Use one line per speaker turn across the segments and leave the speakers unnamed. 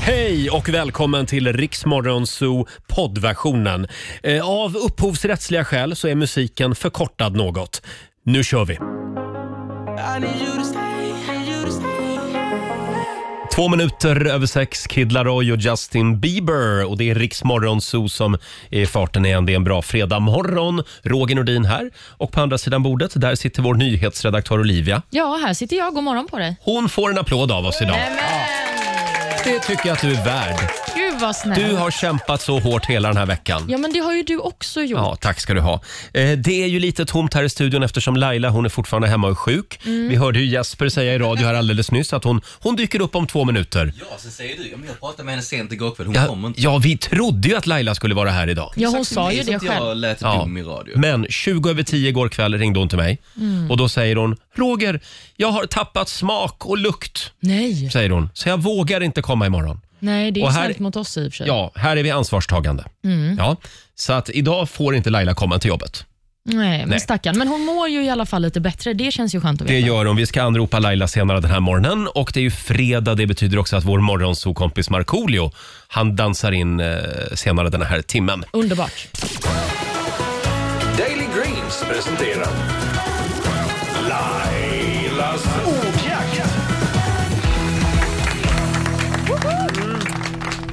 Hej och välkommen till Riksmorgon Zoo poddversionen. Eh, Av upphovsrättsliga skäl så är musiken förkortad något. Nu kör vi! Två minuter över sex, Kid Laroi och Justin Bieber. Och det är Riksmorgon Zoo som är i farten igen. Det är en bra fredag morgon. Roger Nordin här. Och på andra sidan bordet, där sitter vår nyhetsredaktör Olivia.
Ja, här sitter jag. God morgon på dig.
Hon får en applåd av oss idag. Det tycker jag att du är värd.
Gud vad snäll.
Du har kämpat så hårt hela den här veckan.
Ja, men det har ju du också gjort.
Ja, tack ska du ha. Eh, Det är ju lite tomt här i studion eftersom Laila hon är fortfarande hemma och är sjuk. Vi hörde ju Jesper säga i radio här alldeles nyss att hon, hon dyker upp om två minuter.
Ja, sen säger du, ja, men jag pratade med henne sent igår kväll, hon
Ja,
kommer inte.
ja, vi trodde ju att Laila skulle vara här idag.
Ja, hon
Exakt,
sa
det
ju
är så
det
att
själv.
Jag lät
Ja.
dum i radio.
Men 20 över 10 igår kväll ringde hon till mig och då säger hon “Roger, jag har tappat smak och lukt”,
Nej,
säger hon. “Så jag vågar inte komma imorgon”.
nej det är
Och
ju
här-
snällt mot oss i och för sig.
Ja, här är vi ansvarstagande. Ja, så att idag får inte Laila komma till jobbet.
Nej, men
Nej.
stackarn. Men hon mår ju i alla fall lite bättre. Det känns ju skönt att
Det
veta.
gör hon. Vi ska anropa Laila senare den här morgonen. Och det är ju fredag. Det betyder också att vår morgonsokompis Markoolio, han dansar in eh, senare den här timmen.
Underbart.
Daily Greens presenterar Lailas ordjakt.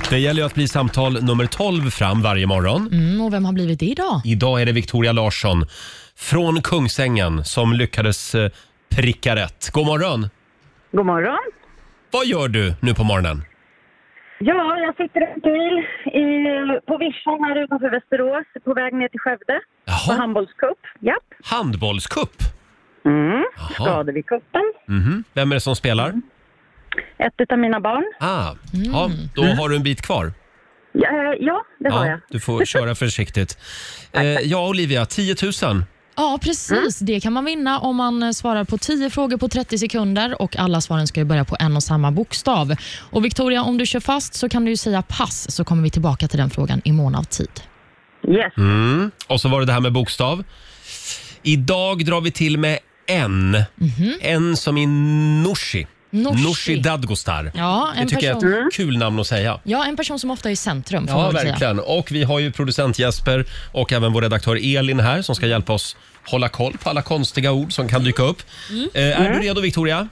Det gäller ju att bli samtal nummer 12 fram varje morgon.
Mm, och vem har blivit det idag?
Idag är det Victoria Larsson från Kungsängen som lyckades eh, pricka rätt. God morgon!
God morgon.
Vad gör du nu på morgonen?
Ja, jag sitter i en bil i, på Vischan här utanför Västerås på väg ner till Skövde på
Jaha,
handbollscup. Japp.
handbollscup.
Mm.
Jaha.
Skadade vi cupen.
Mhm. Vem är det som
Mm.
spelar?
Ett av mina barn.
Ah, ja, då
Mm.
har du en bit kvar.
Ja, eh, ja det har jag.
Du får köra försiktigt. Eh, ja, Olivia, 10 000.
Ja,
Mm.
precis. Det kan man vinna om man eh, svarar på 10 frågor på 30 sekunder och alla svaren ska ju börja på en och samma bokstav. Och Victoria, om du kör fast så kan du ju säga pass så kommer vi tillbaka till den frågan i mån av tid.
Yes.
Mm. Och så var det det här med bokstav. Idag drar vi till med en. En som är Nooshi.
Mhm. Nooshi.
Nooshi Dadgostar.
Ja,
Det
en
tycker
person...
jag är ett kul namn att säga.
Ja, en person som ofta är i centrum. Får
Ja,
man väl säga.
verkligen. Och vi har ju producent Jesper och även vår redaktör Elin här som ska hjälpa oss hålla koll på alla konstiga ord som kan dyka upp.
Mm.
Eh, är du redo Victoria?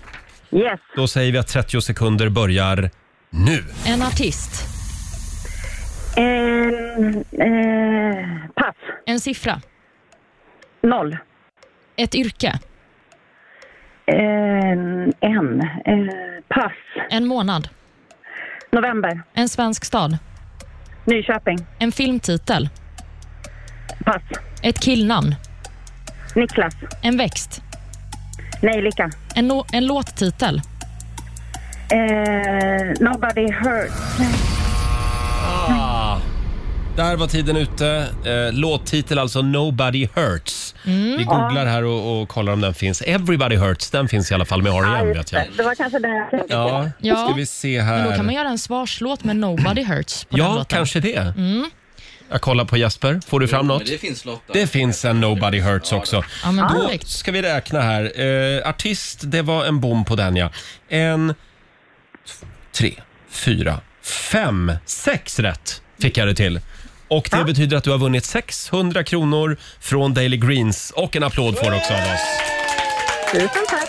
Yes.
Då säger vi att 30 sekunder börjar nu.
En artist,
Ehm, eh, pass.
en siffra,
Noll.
ett yrke,
Ehm, en. Eh, pass.
en månad,
November.
en svensk stad,
Nyköping.
en filmtitel,
Pass.
ett killnamn,
Niklas.
en växt,
Nejlika.
en, lo- en låttitel,
Eh, nobody hurt.
Ah. Där var tiden ute. Eh, låttitel alltså Nobody Hurts.
Mm.
Vi googlar här och, och kollar om den finns. Everybody Hurts, den finns i alla fall med R.E.M. vet jag.
Det var kanske det jag tänkte på.
Ja,
Ja.
ska vi se
men då kan man
här.
göra en svarslåt med Nobody Hurts på den
Ja,
låten. Mm.
kanske det. Jag kollar på Jesper. Får du fram
Men
något?
Det finns Lotta.
Det finns en Nobody Hurts också.
Ja, men
Då
perfekt.
ska vi räkna här. Eh, artist, det var en bom på den ja. En, t- tre, fyra, fem, sex rätt fick jag det till. Och det betyder att du har vunnit 600 kronor från Daily Greens och en applåd får du också av oss.
Tusen tack.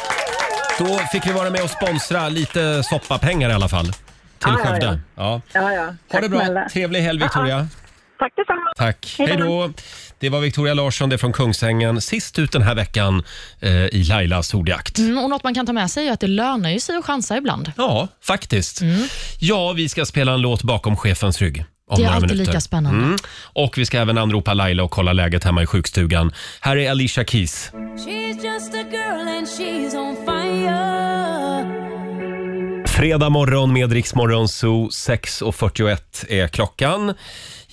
Då fick vi vara med och sponsra lite soppapengar i alla fall. Till
ja, ja.
Skövde. Ja.
Ja, ja.
Ha
Tack
det bra.
snälla.
Trevlig helg Victoria.
Tack detsamma.
Tack.
Hej
Hej
då.
då. Det var Victoria Larsson det är från Kungsängen. Sist ut den här veckan eh, i Lailas ordjakt.
Mm, och något man kan ta med sig är att det lönar ju sig att chansa ibland.
Ja, faktiskt. Ja, vi ska spela en låt bakom chefens rygg. Om
Mm. Det är
några
alltid
minuter.
lika spännande.
Mm. Och vi ska även anropa Laila och kolla läget hemma i sjukstugan. Här är Alicia Keys.
She's just a girl and she's on fire.
Fredag morgon med Rix Morgon Zoo. 6.41 är klockan.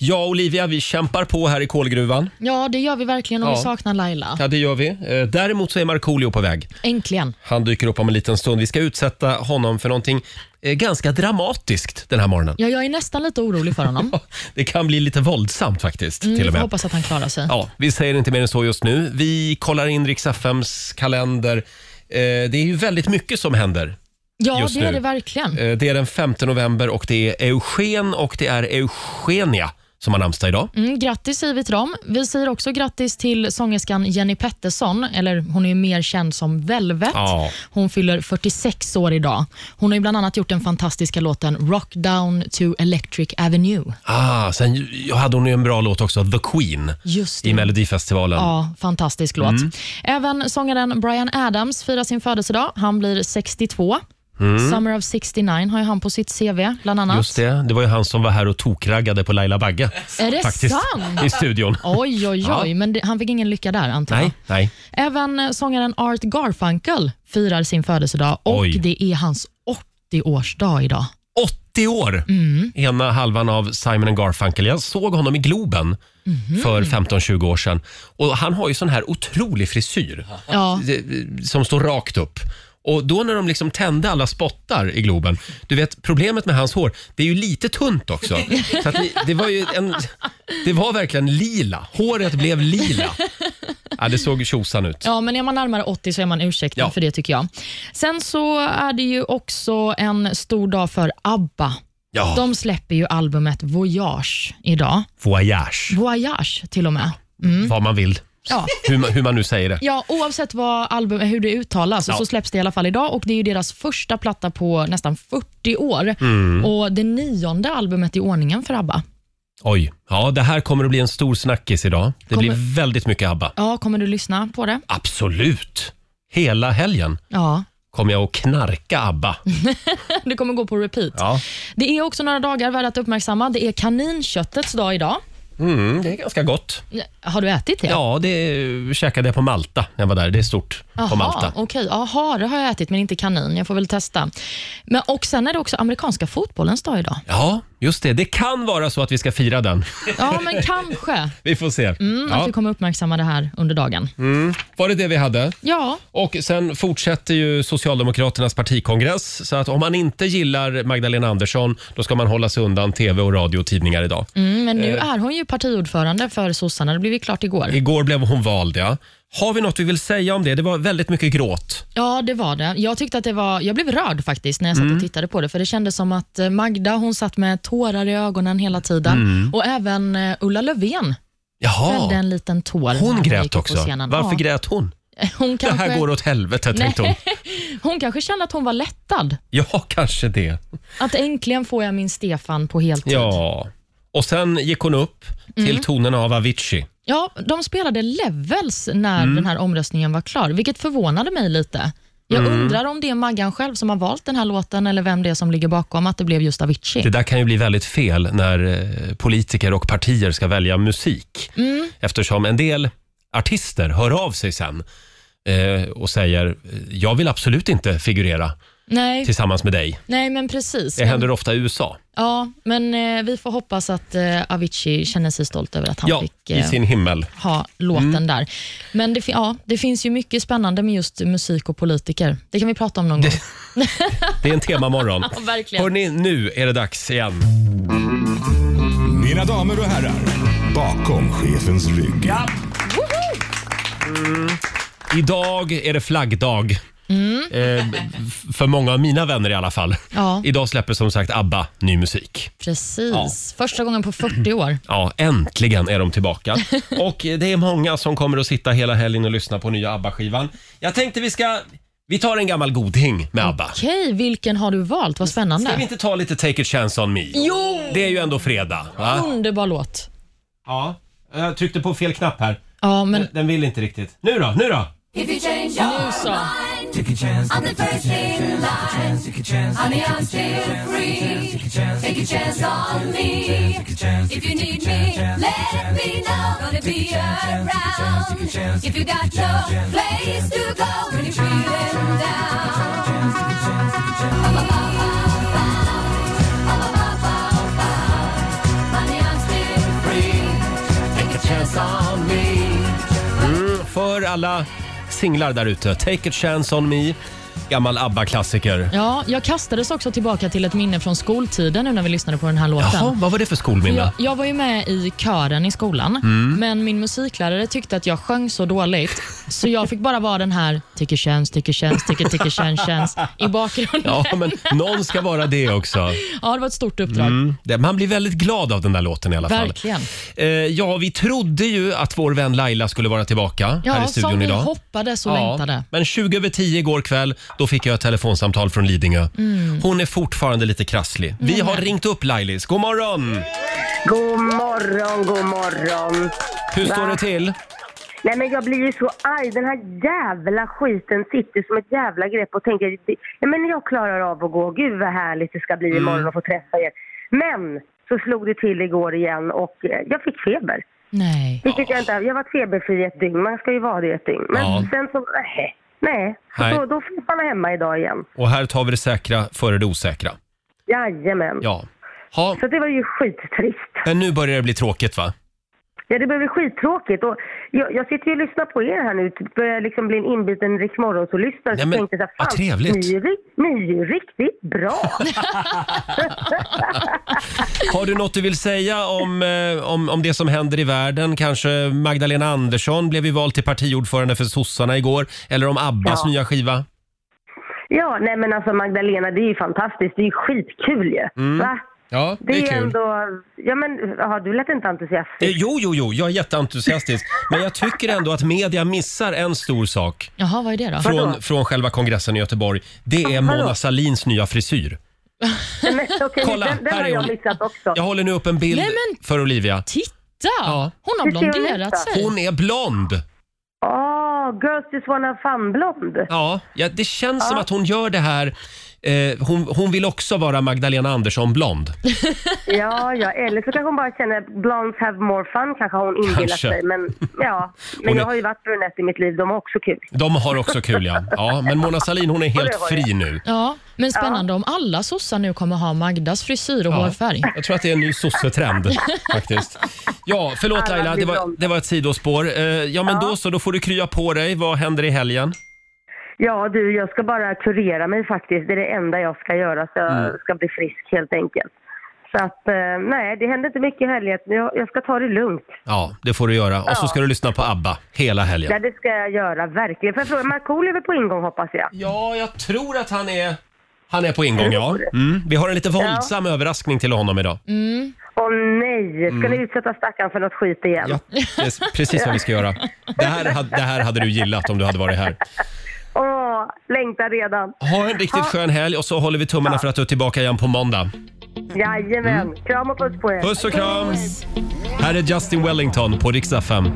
Ja, Olivia, vi kämpar på här i kolgruvan.
Ja, det gör vi verkligen och
Ja.
vi saknar Laila.
Ja, det gör vi. Eh, Däremot så är Markoolio på väg.
Äntligen.
Han dyker upp om en liten stund. Vi ska utsätta honom för någonting eh, ganska dramatiskt den här morgonen.
Ja, jag är nästan lite orolig för honom.
Det kan bli lite våldsamt faktiskt.
Mm,
till
vi
och
får
med.
hoppas att han klarar sig.
Ja, vi säger inte mer än så just nu. Vi kollar in Rix FMs kalender. Eh, det är ju väldigt mycket som händer
Ja,
just
det är
nu.
det verkligen.
Eh, Det är den 5 november och det är Eugen och det är Eugenia som har namnsdag idag.
Mm, grattis säger vi till dem. Vi säger också grattis till sångerskan Jenny Pettersson, eller hon är ju mer känd som Velvet.
Ja.
Hon fyller 46 år idag. Hon har ju bland annat gjort den fantastiska låten Rock Down to Electric Avenue.
Ah, sen ju- hade hon ju en bra låt också, The Queen,
Just
i
det.
Melodifestivalen.
Ja, fantastisk låt.
Mm.
Även sångaren Bryan Adams firar sin födelsedag. Han blir 62. Summer of 69 har ju han på sitt CV, bland annat.
Mm. Just det, det var ju han som var här och tokraggade på Laila Bagge.
Är det
faktiskt,
sant?
I studion.
Oj, oj,
Ja.
oj. Men det, han fick ingen lycka där, antar jag.
Nej, nej.
Även eh, sångaren Art Garfunkel firar sin födelsedag och
Oj.
det är hans 80-årsdag idag.
80 år! Ena halvan av Simon and Garfunkel. Jag såg honom i Globen för 15-20 år sedan. Och han har ju sån här otrolig frisyr
Ja,
eh, som står rakt upp. Och då när de liksom tände alla spottar i Globen, du vet problemet med hans hår, det är ju lite tunt också. Så att det, det var ju en, det var verkligen lila. Håret blev lila. Ja, det såg tjosan ut.
ja, men är man närmare 80 så är man ursäktad
Ja.
för det tycker jag. Sen så är det ju också en stor dag för ABBA.
Ja,
De släpper ju albumet Voyage idag.
voyage,
Voyage till och med.
vad man vill.
Ja.
Hur, man- hur man nu säger det.
Ja, oavsett vad album, hur det uttalas
Ja.
så släpps det i alla fall idag och det är ju deras första platta på nästan 40 år
Mm.
och det nionde albumet i ordningen för ABBA.
Oj, ja det här kommer att bli en stor snackis idag. Det
Kommer-
blir väldigt mycket ABBA.
Ja, kommer du lyssna på det?
Absolut! Hela helgen
Ja,
kommer jag att knarka ABBA.
det kommer gå på repeat.
Ja.
Det är också några dagar värda att uppmärksamma. Det är kaninköttets dag idag.
Mm, det är ganska gott.
Har du ätit det?
Ja, det käkade jag på Malta när jag var där. Det är stort på Malta.
okej. Jaha, det har jag ätit men inte kanin. Jag får väl testa. Men, och Sen är det också amerikanska fotbollens dag idag.
Ja, just det. Det kan vara så att vi ska fira den.
Ja, men kanske
Vi får se.
Mm, att
ja. Mm.
vi kommer uppmärksamma det här under dagen.
Var det det vi hade?
Ja,
Och sen fortsätter ju Socialdemokraternas partikongress. Så att om man inte gillar Magdalena Andersson, då ska man hålla sig undan tv och radio och tidningar idag.
mm, men
Eh.
nu är hon ju partiordförande för sossarna. Det blev ju klart igår.
Igår blev hon vald, ja. Har vi något vi vill säga om det? Det var väldigt mycket gråt.
Ja, det var det. Jag tyckte att det var... Jag blev rörd faktiskt när jag satt
Mm.
och tittade på det, för det kändes som att eh, Magda hon satt med tårar i ögonen hela tiden
Mm.
och även eh, Ulla Löfven fällde
Jaha,
en liten tår. när
hon
gick upp
grät
på
också.
scenen.
Varför
ja.
grät hon?
hon
Det
kanske,
här går åt helvete, tänkte hon.
Nej. Hon kanske kände att hon var lättad.
Ja, kanske det.
Att äntligen får jag min Stefan på heltid.
Ja. Och sen gick hon upp till
Mm.
tonerna av Avicii.
Ja, de spelade Levels när
Mm.
den här omröstningen var klar, vilket förvånade mig lite. Jag
Mm.
undrar om det är Maggan själv som har valt den här låten eller vem det är som ligger bakom att det blev just Avicii.
Det där kan ju bli väldigt fel när eh, politiker och partier ska välja musik.
Mm.
Eftersom en del artister hör av sig sen eh, och säger “jag vill absolut inte figurera
Nej,
tillsammans med dig”.
nej, men precis.
Det händer ofta i USA.
Ja, men eh, vi får hoppas att eh, Avicii känner sig stolt över att han
Ja,
fick
i
eh,
sin himmel.
ha låten
Mm.
där. Men det, fi- ja, det finns ju mycket spännande med just musik och politiker. Det kan vi prata om någon gång.
Det är en temamorgon.
Ja, verkligen.
Hörni, nu är det dags igen.
Mina damer och herrar, bakom chefens rygg.
Idag är det flaggdag. Eh, f- för många av mina vänner i alla fall.
Mm. Ja.
Idag släpper som sagt ABBA ny musik.
Precis. Första gången på 40 år.
Ja, äntligen är de tillbaka. Och eh, det är många som kommer att sitta hela helgen och lyssna på nya ABBA-skivan. Jag tänkte vi ska... Vi tar en gammal goding med ABBA.
Okej, vilken har du valt? Vad
Ska vi
spännande.
inte ta lite Take a chance on me?
Jo!
Det är ju ändå fredag. Va?
Underbar låt.
Ja. Jag tryckte på fel knapp här.
Ja, men
Den vill inte riktigt. Nu då, nu då!
If you change your
nu så.
I'm the first in line. Honey, I'm still free. Take a chance on me. If you need me, let me know. Gonna be around. If you got no place to go when you're feeling down. Honey, I'm still free. Take a chance on me.
Mm, För alla singlar där ute, Take a chance on me, gammal ABBA-klassiker.
Ja, jag kastades också tillbaka till ett minne från skoltiden nu när vi lyssnade på den här låten.
Jaha, vad var det för
Jag,
skolminne?
jag
Mm.
var ju med i kören i skolan, men min musiklärare tyckte att jag sjöng så dåligt Så jag fick bara vara den här tycker känns, tycker känns, tycker tycker känns, känns i bakgrunden.
Ja, men någon ska vara det också.
Ja, det var ett stort uppdrag.
Mm. det- Man blir väldigt glad av den där låten i alla fall.
Verkligen.
Eh, ja, vi trodde ju att vår vän Laila skulle vara tillbaka här
Ja,
i studion
som vi
idag.
hoppades och längtade.
men 20 över 10 igår kväll, då fick jag ett telefonsamtal från Lidingö.
Mm.
Hon är fortfarande lite krasslig. Vi har ringt upp Lailis. God morgon!
God morgon, god morgon.
Hur står det till?
Nej men jag blir ju så arg. Den här jävla skiten sitter som ett jävla grepp och tänker, "Ja, men jag klarar av att gå. Gud vad härligt det ska bli
Mm.
imorgon att få träffa er. Men så slog det till igår igen och eh, jag fick feber.
Nej.
Vilket jag inte Jag har varit feberfri i ett dygn. Man ska ju vara det i ett dygn. Men
Ja.
sen så, nej. Nej, så
Nej.
Då, då får man vara hemma idag igen.
Och här tar vi det säkra före det osäkra.
Jajamän.
Ja. Ha,
Så det var ju skittrist.
men nu börjar det bli tråkigt va?
Ja, det blev ju skittråkigt. Och jag, jag sitter ju och lyssnar på er här nu. Typ Börjar liksom bli en inbiten Rix Morgonzoo-lyssnare.
Nej,
Så
men,
tänkte jag så här,
vad
fan,
trevligt.
Ni, är ri- ni är ju riktigt bra.
Har du något du vill säga om, eh, om, om det som händer i världen? Kanske Magdalena Andersson blev ju vald till partiordförande för sossarna igår. Eller om Abbas nya skiva.
ja, nej men alltså Magdalena, det är ju fantastiskt. Det är ju skitkul ju.
Mm.
Va?
Ja,
Det, är, ju ändå... Ja, men ja, du lät inte
Eh,
entusiastisk.
Jo, jo, jo, jag är jätteentusiastisk. Men jag tycker ändå att media missar en stor sak
Jaha, vad är det då?
från, från själva kongressen i Göteborg. Det är Mona Salins nya frisyr.
Nej, men okej,
Kolla,
den, den
här
har
är
jag
hon.
missat också.
Jag håller nu upp en bild
Nej, men-
för Olivia.
Titta!
Ja.
Hon har
Hur ser hon ut
blonderat
då?
sig.
Hon är blond!
Åh, Girls Just Wanna Have Fun-blond.
Ja, ja det känns som att hon gör det här. Eh, hon, hon vill också vara Magdalena Andersson blond.
Ja, ja, eller så kanske hon bara känner blondes have more fun, kanske har hon inbillat
Kanske.
sig. Men, ja. men
Hon är-
jag har ju varit brunett i mitt liv, de har också kul.
De har också kul ja. ja men Mona Salin hon är helt
det har jag.
fri nu.
Ja, men spännande om alla sossar nu kommer ha Magdas frisyr och
Ja.
hårfärg.
Jag tror att det är en ny sossetrend faktiskt. Ja, förlåt
Alla
Laila, det
blir
var,
blonda.
det var ett sidospår. Eh, ja, men då så, då får du krya på dig. Vad händer i helgen?
Ja du, jag ska bara kurera mig faktiskt. Det är det enda jag ska göra så jag
Mm.
ska bli frisk helt enkelt. Så att, eh, nej, det händer inte mycket i helgen. Jag, jag ska ta det lugnt.
Ja, det får du göra. Och så ska du lyssna på ABBA hela helgen.
Ja, det ska jag göra, verkligen. För jag frågar, Markoolio är väl på ingång hoppas jag?
Ja, jag tror att han är... Han är på ingång, ja. Mm. Vi har en lite våldsam överraskning till honom idag.
Åh nej, ska ni utsätta stackaren för något skit igen?
Mm. Ja, det är precis vad vi ska göra. Det här, hade- det här hade du gillat om du hade varit här.
Åh, längtar redan.
Ha en riktigt skön helg och så håller vi tummarna för att du är tillbaka igen på måndag.
Jajamän, kram och puss på er.
Mm. Puss och kram! Här är Justin Wellington på riksdag 5.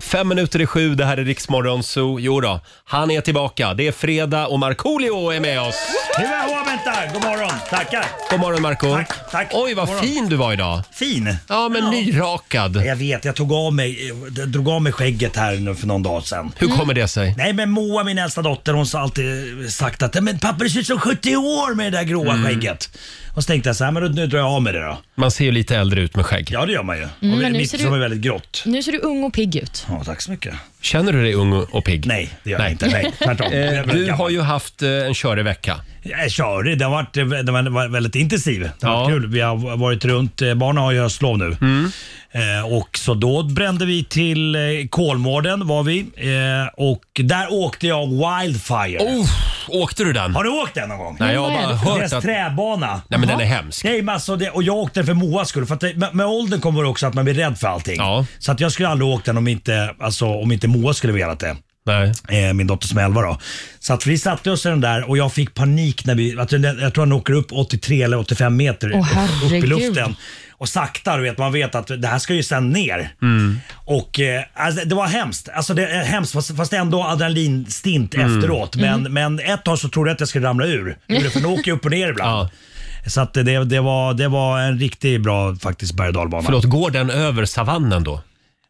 Fem minuter i sju, det här är Riksmorgon Zoo. Jo då, han är tillbaka. Det är fredag och Markoolio är med oss.
Nu är jag vänta. God morgon. Tackar.
God morgon Marco.
Tack, tack.
Oj, vad
God morgon.
fin du var idag.
Fin.
Ja, men nyrakad.
Jag vet, jag tog av mig, jag drog av mig skägget här nu för någon dag sedan.
Hur kommer det sig?
Nej men Moa, min äldsta dotter, hon har alltid eh, sagt att men pappa du ser ut som 70 år med det där gråa
Mm.
skägget. Och så tänkte jag så här, men då- nu drar jag av mig det då.
Man ser ju lite äldre ut med skägg.
Ja det gör man
Mm,
ju.
men
och
nu
mitt
ser
som
du-
är väldigt grått.
Nu ser du ung och pigg ut.
Ja, tack så mycket.
Känner du dig ung och pigg?
Nej, det gör
Nej.
jag inte. Nej, tvärtom. Jag är
Eh,
väldigt
Du
gammal.
har ju haft eh, en körig vecka.
Jag är Körig, den har varit, eh, den har varit väldigt intensiv. Det har
Ja. Mm.
varit kul. Vi har varit runt, eh, barnen har ju höstlov nu. Eh, och så då brände vi till eh, Kolmården var vi eh, och där åkte jag Wildfire.
Oh, åkte du den?
Har du åkt den någon gång?
Nej, jag har
vad är
bara
det
hört
Deras
att...
träbana.
Nej, men den är hemsk.
Nej, men alltså det, och jag åkte den för Moas skull. För att det, med, med åldern kommer också att man blir rädd för allting.
Ja.
Så att jag skulle aldrig åkt den om inte, alltså, om inte Moa skulle velat det
Nej.
eh, min dotter som är 11 då. Så att vi satte oss i den där och jag fick panik när vi, att den- jag tror han åker upp 83 eller 85 meter
Åh,
upp- upp i
herregud.
luften. Och sakta, du vet, man vet att det här ska ju sen ner.
Mm.
Och eh, alltså, det var hemskt. Alltså det är hemskt fast, fast ändå adrenalinstint
Mm.
efteråt. Men,
Mm.
men ett tag så trodde jag att jag skulle ramla ur. Gjorde det, För den åker ju upp och ner ibland. Så att det, det, var, det var en riktigt bra faktiskt berg och dalbana.
Förlåt, går den över savannen då?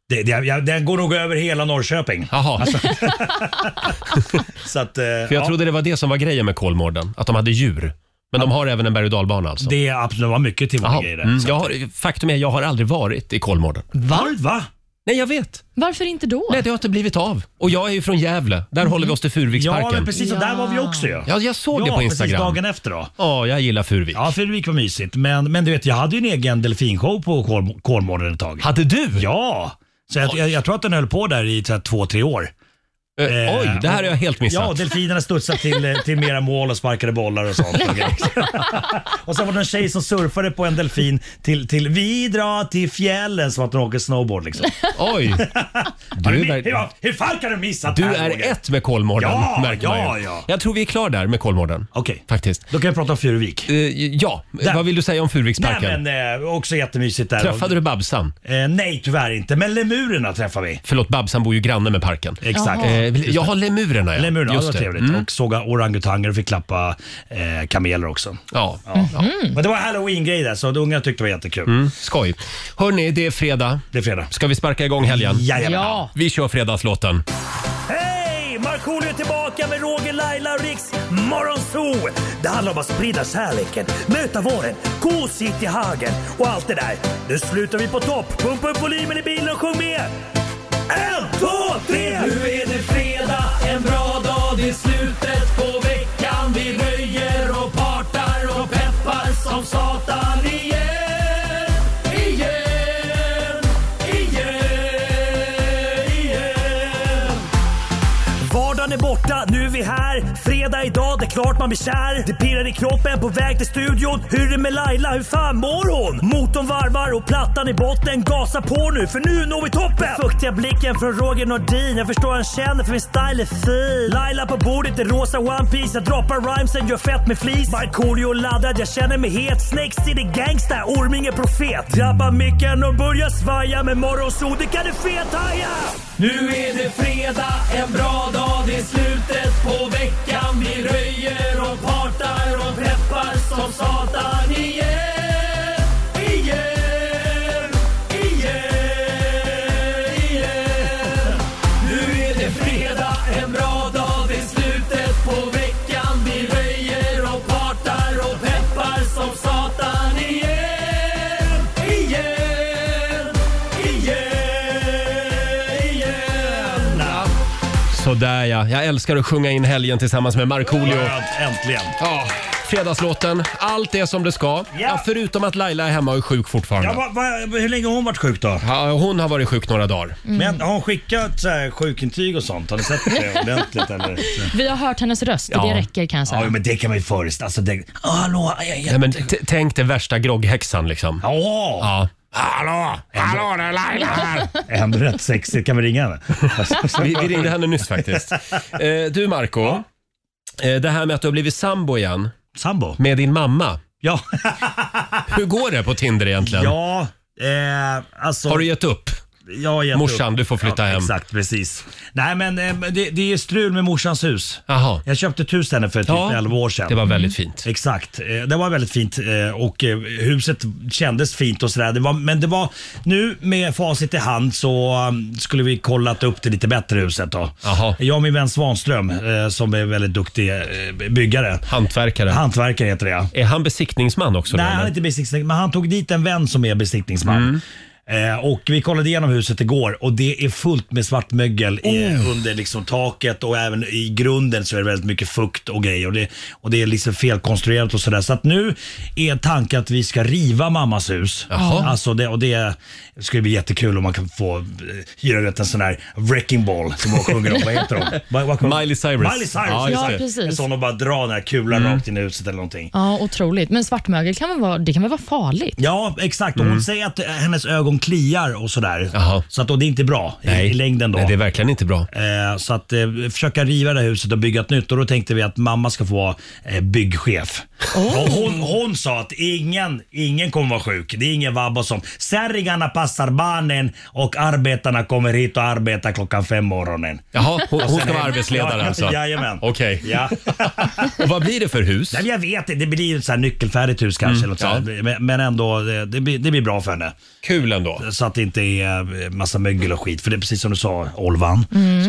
Det, det, jag, den går nog över hela Norrköping.
Jaha,
Så att, eh,
för jag
Alltså, ja.
trodde det var det som var grejen med Kolmården, att de hade djur. Men de har även en berg och dalbana alltså?
Det är absolut, det var mycket till
Jaha.
grejer där.
Mm. Jag har, faktum är, jag har aldrig varit i Kolmården.
Va? Va?
Nej, jag vet.
Varför inte då?
Nej, det har inte blivit av. Och jag är ju från Gävle. Där håller vi oss till Furuviksparken.
Ja,
Ja,
men Mm. precis. Och där var vi också ju. Ja,
jag såg det på
precis.
Instagram.
Dagen efter då.
Ja, jag gillar Furuvik.
Ja, Furuvik var mysigt. Men, men du vet, jag hade ju en egen delfinshow på Kol- Kolmården ett tag.
Hade du?
Ja! Så jag, jag, jag tror att den höll på där i så här, två, tre år.
Eh,
Eh,
oj, det här har jag helt missat.
Ja, och delfinerna studsade till, eh, till mera mål och sparkade bollar och sånt. och sen var det en tjej som surfade på en delfin till, till vi drar till fjällen som att hon åker snowboard liksom.
Oj!
Har
Du,
ni-
är-
hur, hur fan kan du missa
du är ett med Kolmården,
Äh, Ja,
märker man ju.
ja, ja.
Jag tror vi är klar där med Kolmården.
Okej,
Faktiskt.
då kan jag prata om Furuvik.
Eh, ja,
Där-
vad vill du säga om
Nej
Furuviksparken?
men eh, också jättemysigt där.
Träffade du Babsan?
Eh, nej tyvärr inte, men lemurerna träffar vi.
Förlåt, Babsan bor ju granne med parken.
Exakt.
Jaha.
Eh, jag har lemurerna ja.
Lemurerna, ja, det
Just
var trevligt.
Mm.
Och såga orangutanger och fick klappa eh, kameler också.
Ja,
Men det var halloween-grej där så de unga tyckte det var jättekul.
mm, skoj. Hörni, det är fredag.
Det är fredag.
Ska vi sparka igång helgen?
Jajamän.
Ja.
Vi kör fredagslåten.
Hej! Markoolio är tillbaka med Roger, Laila och Riks Morgonzoo! Det handlar om att sprida kärleken, möta våren, gosigt i hagen och allt det där. Nu slutar vi på topp! Pumpa upp volymen i bilen och sjung med! En, två, tre! Nu är det fredag, en bra dag, det är slutet på veckan. Vi röjer och partar och peppar som satan igen, igen, igen, igen. Vardagen är borta, nu är vi här. Fredag idag, det är klart man blir kär. Det pirrar i kroppen på väg till studion. Hur är det med Laila, hur fan mår hon? Motorn varvar och plattan i botten. Gasa på nu, för nu når vi toppen! Fuktiga blicken från Roger Nordin. Jag förstår han känner för min style är fin. Laila på bordet i rosa One Piece Jag droppar rhymesen, gör fett med flis. Markoolio laddad, jag känner mig het. Snakes city gangsta, Orminge profet. Drabbar micken och börjar svaja. Med morgonsol, det kan du fethaja! Nu är det fredag, en bra dag. Det är slutet på veckan. Vi röjer och partar och peppar som satan igen. Igen, igen, igen. Nu är det fredag, en bra dag. Det är slutet på veckan. Vi röjer och partar och peppar som satan igen. Igen, igen, igen.
Sådär ja, jag älskar att sjunga in helgen tillsammans med Markoolio.
Äntligen.
Ja, fredagslåten. Allt är som det ska.
Ja.
Ja, förutom att Laila är hemma och är sjuk
Ja,
fortfarande.
va, va, hur länge har hon varit sjuk då?
Ja, hon har varit sjuk några dagar.
Men har hon skickat så här, sjukintyg och sånt? Har ni sett det ordentligt eller?
Vi har hört hennes röst,
Ja.
det räcker kan jag säga.
Ja, men det kan man ju föreställa alltså, det... ah, Hallå, jag är
Nej, men t- tänk den värsta grogghäxan liksom.
Ja,
Ja. Hallå! Hallå, det är Laila här!
ändå rätt sexigt. Kan vi ringa henne?
Vi, vi ringde henne nyss faktiskt. Eh, du Marco, eh, det här med att du har blivit sambo igen
Sambo?
med din mamma.
Ja.
Hur går det på Tinder egentligen?
Ja, eh, alltså...
Har du gett upp?
jag har gett
Morsan,
upp.
du får flytta hem.
Exakt, precis. Nej, men eh, det, det är strul med morsans hus.
Jaha.
Jag köpte ett hus till henne för typ
Ja,
11 år sedan.
Det var väldigt fint.
Exakt, Eh, det var väldigt fint eh, och eh, huset kändes fint och sådär. Det var- Men det var, nu med facit i hand så um, skulle vi kollat upp det lite bättre huset då.
Jaha.
Jag och min vän Svanström eh, som är väldigt duktig eh, byggare.
Hantverkare.
Hantverkare heter det ja.
Är han besiktningsman också? då,
Nej, han är
eller? Mm.
inte besiktningsman, men han tog dit en vän som är besiktningsman. Eh, och Vi kollade igenom huset igår och det är fullt med svartmögel i,
Oh.
under liksom taket och även i grunden så är det väldigt mycket fukt och grejer. Och det, och det är liksom felkonstruerat och sådär. Så att nu är tanken att vi ska riva mammas hus.
Jaha.
Alltså det, och det skulle bli jättekul om man kan få eh, hyra ut en sån här wrecking ball som hon sjunger om. Vad heter hon? Vad- vad-
Miley Cyrus.
Miley Cyrus.
Ja, just
Ja,
det. Mm.
En
precis.
sån och bara dra den här kulan rakt in i huset eller någonting.
Ja, otroligt. Men svartmögel kan väl vara, det kan väl vara farligt?
Ja, exakt. Och Hon säger att eh, hennes ögon kliar och sådär.
Mm. Jaha.
Så att, och det är inte bra i, i längden då.
Nej, det är verkligen inte bra.
Eh, Så att eh, försöka riva det här huset och bygga ett nytt och då tänkte vi att mamma ska få vara eh, byggchef. Och hon, hon sa att ingen, ingen kommer vara sjuk. Det är ingen vabba som “Särringarna passar barnen och arbetarna kommer hit och arbetar klockan fem morgonen”.
Jaha, hon, hon ska vara
Ja,
arbetsledare alltså?
Jajamän.
Okej.
Ja.
Och vad blir det för hus?
Nej, men jag vet inte, det blir ju ett så här nyckelfärdigt hus kanske. eller något
Mm, ja.
så här. Men- Men ändå, eh, det blir, det blir bra för henne.
Kul ändå.
Så att det inte är eh, massa mögel och skit. För det är precis som du sa, Olvan,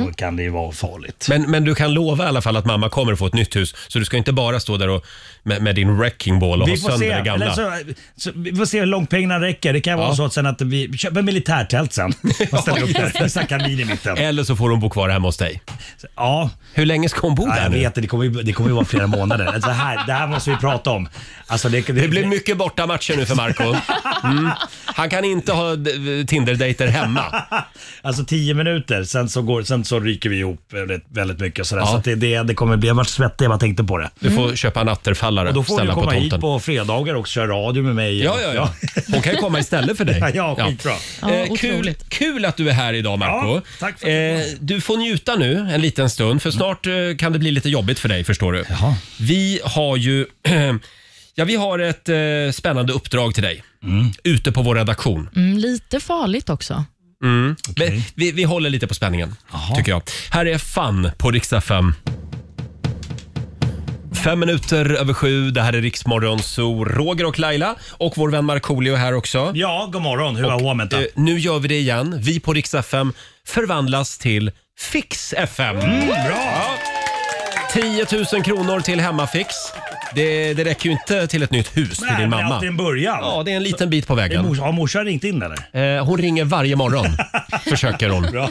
så kan det ju vara farligt.
Men, men du kan lova i alla fall att mamma kommer få ett nytt hus. Så du ska inte bara stå där och, med, med din wrecking ball och ha
vi får,
sönder
se.
det gamla.
Eller så, så, vi får se hur långt pengarna räcker. Det kan vara
Ja.
så att, sen att vi köper militärtält sen och ställer upp där. Med så här kamin i mitten.
Eller så får hon bo kvar hemma hos dig.
Ja,
Hur länge ska hon bo
ja
Oh, där
jag
nu?
vet det. Det kommer ju det kommer ju vara flera månader. Alltså här, det här måste vi prata om. Alltså det,
Det blir mycket bortamatcher nu för Marco. Mm. Han kan inte ha ha d- Tinder-dejter hemma.
Alltså tio minuter, sen så, går, sen så ryker vi ihop väldigt, väldigt mycket. och Sådär.
Ja.
Så att det, det, det kommer bli, jag vart svettig, jag bara tänkte på det.
Du får köpa en atterfallare
Mm. Och då får du
ställa på
komma hit
tomten.
på fredagar och köra radio med mig.
Ja, ja, ja. Hon kan ju komma istället för dig.
Ja, ja, skitbra.
Ja,
Eh, kul,
otroligt.
kul att du är här idag Marco.
Ja, tack för att jag
eh, Du får njuta nu en liten stund för snart eh, kan det bli lite jobbigt för dig förstår du. Vi har ju ja, vi har ett eh, spännande uppdrag till dig
Mm.
ute på vår redaktion.
Mm, lite farligt också.
Men Vi, vi håller lite på spänningen, tycker jag. Här är Fan på riksdag 5. Fem minuter över sju, det här är Riksmorgon, så Roger och Laila och vår vän Markoolio är här också.
Ja, god morgon. Hur var Womenta?
Eh, nu gör vi det igen. Vi på riksdag 5 förvandlas till Fix FM.
Bra!
10 000 kronor till Hemmafix. Det, det räcker ju inte till ett nytt hus
Nej,
till din
men alltid en
mamma.
början.
Ja, det är en liten bit på
Är
vägen.
mors- Har morsan ringt in eller?
Eh, hon ringer varje morgon, försöker hon.
Bra.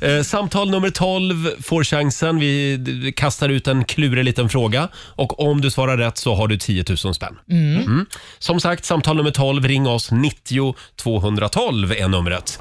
Eh, Samtal nummer 12 får chansen. Vi d- kastar ut en klurig liten fråga och om du svarar rätt så har du 10 000 spänn. Mm. Som sagt, samtal nummer 12, ring oss. 90 212 är numret.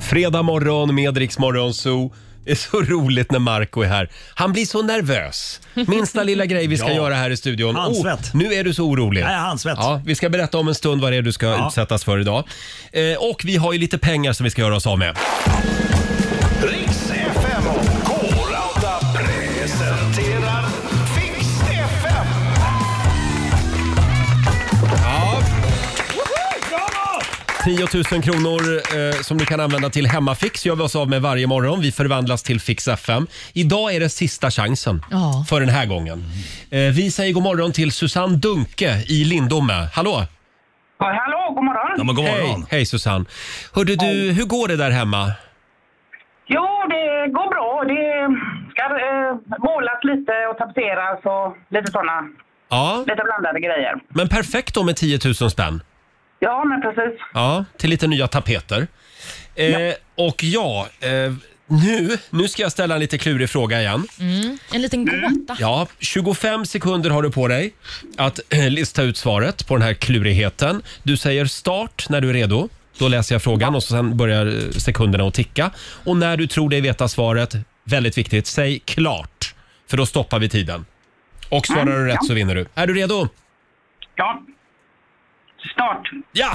Fredag morgon med Rix Morgon Zoo. Det är så roligt när Marco är här. Han blir så nervös. Minsta lilla grej vi ska
Ja.
göra här i studion. Oh,
Handsvett.
nu är du så orolig.
Nej, handsvett.
Ja, vi ska berätta om en stund vad det är du ska
Ja.
utsättas för idag. Eh, och vi har ju lite pengar som vi ska göra oss av med.
Riks FM och K-Rauta presenterar Fix FM.
Ja. 10 000 kronor eh, som du kan använda till Hemmafix gör vi oss av med varje morgon. Vi förvandlas till Fix FM. Idag är det sista chansen
Ja.
för den här gången. Eh, vi säger god morgon till Susanne Dunke i Lindome. Hallå!
Ja, hallå, god morgon.
Ja, men god
Hej,
morgon.
hej Susanne! Hörde du, hur går det där hemma?
Jo, det går bra. Det ska eh, målas lite och tapetseras och lite sådana
Ja,
lite blandade grejer.
men perfekt då med 10 000 spänn.
Ja, men precis.
Ja, till lite nya tapeter. Eh, Och ja, eh, nu, nu ska jag ställa en lite klurig fråga igen.
En liten
Mm.
gåta.
Ja, 25 sekunder har du på dig att eh, lista ut svaret på den här klurigheten. Du säger start när du är redo. Då läser jag frågan och så sen börjar eh, sekunderna att ticka. Och när du tror dig veta svaret, väldigt viktigt, säg klart. För då stoppar vi tiden. Och svarar du rätt så vinner du. Är du redo?
Ja. Start.
Ja!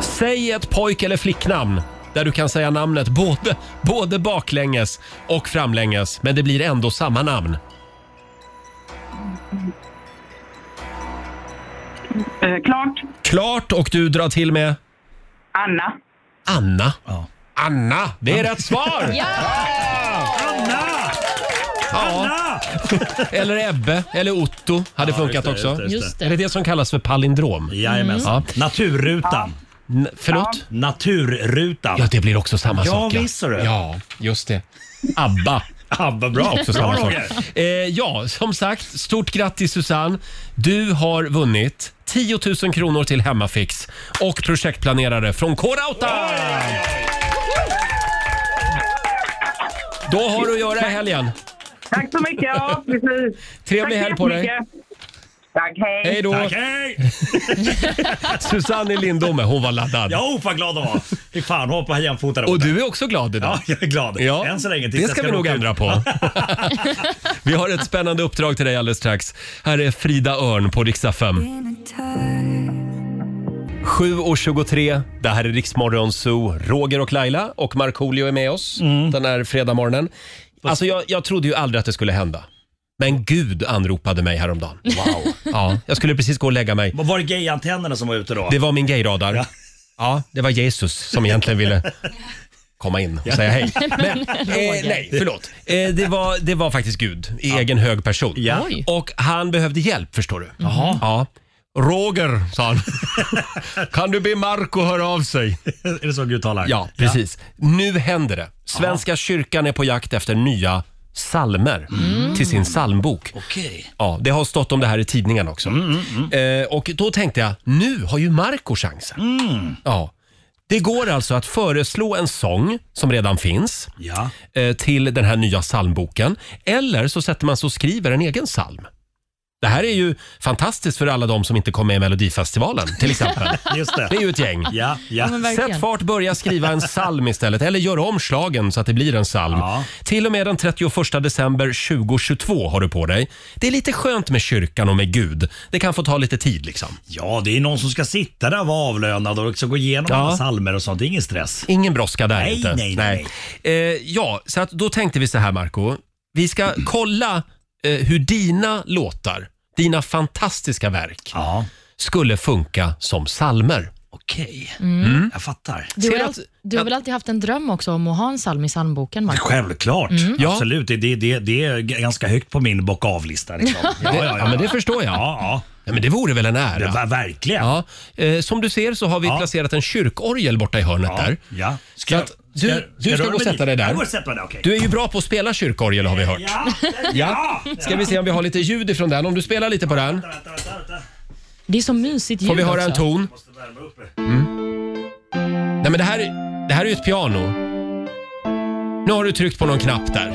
Säg ett pojk eller flicknamn där du kan säga namnet både, både baklänges och framlänges, men det blir ändå samma namn.
Eh, klart.
Klart och du drar till med
Anna.
Anna.
Ja.
Anna, det är rätt svar!
Anna!
Ja,
Anna!
eller Ebbe eller Otto hade funkat
just det,
också.
just
Just
Är det
det.
det som kallas för palindrom?
Jajamensan.
Mm. Ja.
Naturrutan.
N- förlåt?
Naturrutan.
Ja, det blir också samma
Ja,
sak.
visst är det.
Ja, just det. Abba.
Ja, vad bra.
också samma
bra
sak.
Roger.
Eh, ja, som sagt, stort grattis Susanne. Du har vunnit 10 000 kronor till Hemmafix och projektplanerare från K-Rauta! Då har du att göra i helgen.
Tack så mycket. Ja, precis.
Trevlig
Tack
helg på dig.
jättemycket. Tack, hej.
Hej då!
Tack, hej!
Susanne i Lindome, hon var laddad.
Ja, oh, vad glad hon var. Fy fan, hon hoppade jämfota där
Och
borta.
du är också glad idag.
Ja, jag är glad.
Ja,
Än så länge. tills
det
jag
ska vi nog
åka ut.
ändra på. vi har ett spännande uppdrag till dig alldeles strax. Här är Frida Örn på riksdag 5. 7.23, det här är Riksmorgon Zoo. Roger och Laila och Markoolio är med oss
Mm.
den här fredagmorgonen. Alltså jag, jag trodde ju aldrig att det skulle hända. Men Gud anropade mig häromdagen. Wow. Ja, jag skulle precis gå och lägga mig.
Var det gayantennerna som var ute då?
Det var min gayradar. Ja.
Ja.
det var Jesus som egentligen ville komma in och säga hej. Men, eh, nej, förlåt. Eh, det, var, det var faktiskt Gud i egen hög person.
Ja.
Oj.
Och han behövde hjälp förstår du. Ja. Roger, sa han. kan du be Marco höra av sig?
Är det så Gud talar?
Ja, precis. Nu händer det. Svenska kyrkan är på jakt efter nya salmer till sin salmbok.
Okej.
Ja, det har stått om det här i tidningen också. Eh, och då tänkte jag, nu har ju Marco chansen. Ja. Det går alltså att föreslå en sång som redan finns
Ja.
eh, till den här nya psalmboken. Eller så sätter man sig och skriver en egen psalm. Det här är ju fantastiskt för alla de som inte kom med i Melodifestivalen till exempel.
Just det.
Det är ju ett gäng.
Ja, ja.
men verkligen.
Sätt fart, börja skriva en psalm istället. Eller gör om slagen så att det blir en psalm.
Ja.
Till och med den 31 december 2022 har du på dig. Det är lite skönt med kyrkan och med Gud. Det kan få ta lite tid liksom.
ja, det är någon som ska sitta där och vara avlönad och också gå igenom
Ja.
alla salmer och sånt. Det är ingen stress.
Ingen brådska där
Nej,
inte.
nej, nej,
Eh, ja, så att då tänkte vi så här Marco. Vi ska kolla eh, hur dina låtar, dina fantastiska verk,
Ja,
skulle funka som salmer.
okej.
Mm.
Jag fattar.
Du har,
Ser
ju
du
allt-
att-
du har väl alltid haft en dröm också om att ha en psalm i psalmboken, Mark?
Självklart.
Ja.
Absolut. Det, det, det, det är g- ganska högt på min bock av-lista. Liksom. Ja, ja,
Ja,
ja.
men det förstår jag.
ja, ja.
Ja, men det vore väl en
Det,
ära?
var Verkligen.
Ja. Eh, som du ser så har vi
Ja.
placerat en kyrkorgel borta i hörnet
Ja,
där.
ja.
Så att du- du ska
röra
gå och
mig
sätta
dit?
dig där.
Jag går och sätter mig där, okej.
Du är ju bra på att spela kyrkorgel har vi hört.
Ja, där-
Ja. Ska vi se om vi har lite ljud ifrån den. Om du spelar lite på den.
Vänta, vänta, vänta.
Det är så mysigt ljud
Får vi höra en
också.
ton? Mm.
Måste värma upp.
Nej men det här, är- det här är ju ett piano. Nu har du tryckt på någon knapp där.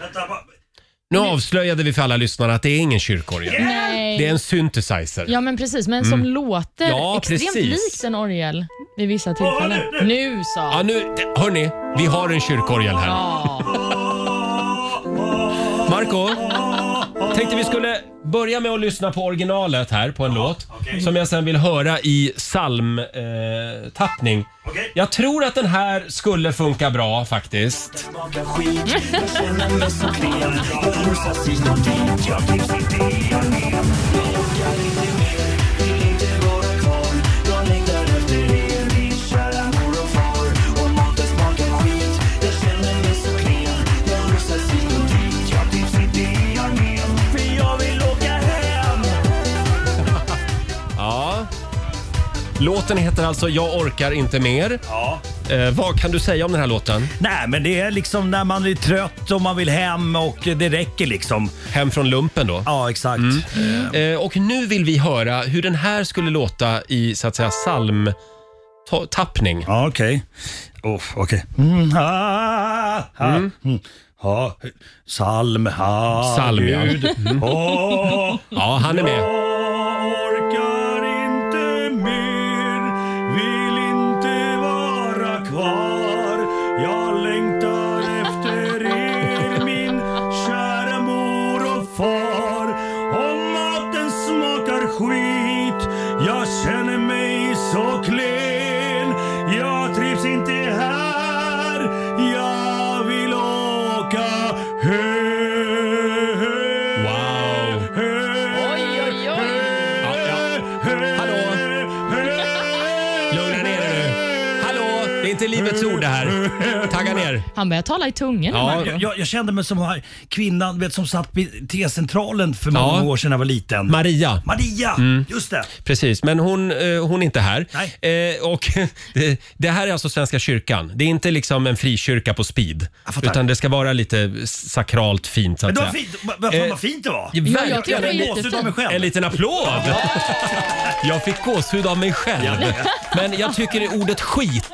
Vänta, va-
Nu avslöjade vi för alla lyssnare att det är ingen kyrkorgel.
Nej.
Det är en synthesizer.
Ja, men precis. Men som låter
Typ. Mm. Ja,
extremt
precis.
likt en orgel vid vissa tillfällen.
nu,
nu, sa
Ja, nu, hörni, vi har en kyrkorgel här.
Ja.
Marco, tänkte vi skulle börja med att lyssna på originalet här på en låt.
okej.
Som jag sen vill höra i psalmtappning. Eh, tappning.
Okej.
Jag tror att den här skulle funka bra faktiskt. Ja. Låten heter alltså Jag orkar inte mer.
Ja.
Eh, vad kan du säga om den här låten?
Nej, men det är liksom när man är trött och man vill hem och det räcker liksom.
Hem från lumpen då.
Ja, exakt. Mm.
Eh, och nu vill vi höra hur den här skulle låta i så att säga psalm ta- tappning.
Ja, okej. Oh, okej. Mm, ah, ah, mm. Ah, Psalm, ah,
Psalm, ja.
Gud. Åh,
Ja, han är med.
jag orkar inte mer, vill inte vara kvar. Jag längtar efter er, min kära mor och far. Om maten smakar skit, jag känner mig så klen. Jag trivs inte här, jag vill åka hem.
Wow.
Oj, oj, oj.
Ja, ja. Hallå? Lugna ner er nu. Hallå, det är inte livets ord det här. Tagga ner.
Han börjar tala i tungor nu,
Ja,
Jag-
Marco.
Jag, jag kände mig som den här kvinnan du vet, som satt vid T-centralen för många
Ja. Mm.
år sedan när jag var liten.
Maria.
Maria! Just det.
Precis, men hon, eh, hon är inte här.
Nej.
Eh, och det, det här är alltså Svenska kyrkan. Det är inte liksom en frikyrka på speed.
Jag fattar.
Utan det ska vara lite sakralt fint så att
Men det var
säga.
fint. Vad- Vad fan
Eh,
vad fint det var.
Ja,
jag
verkligen.
tycker det är
En liten-
gåshud av mig själv.
En liten applåd! Jag fick gåshud av mig själv. Men jag tycker ordet skit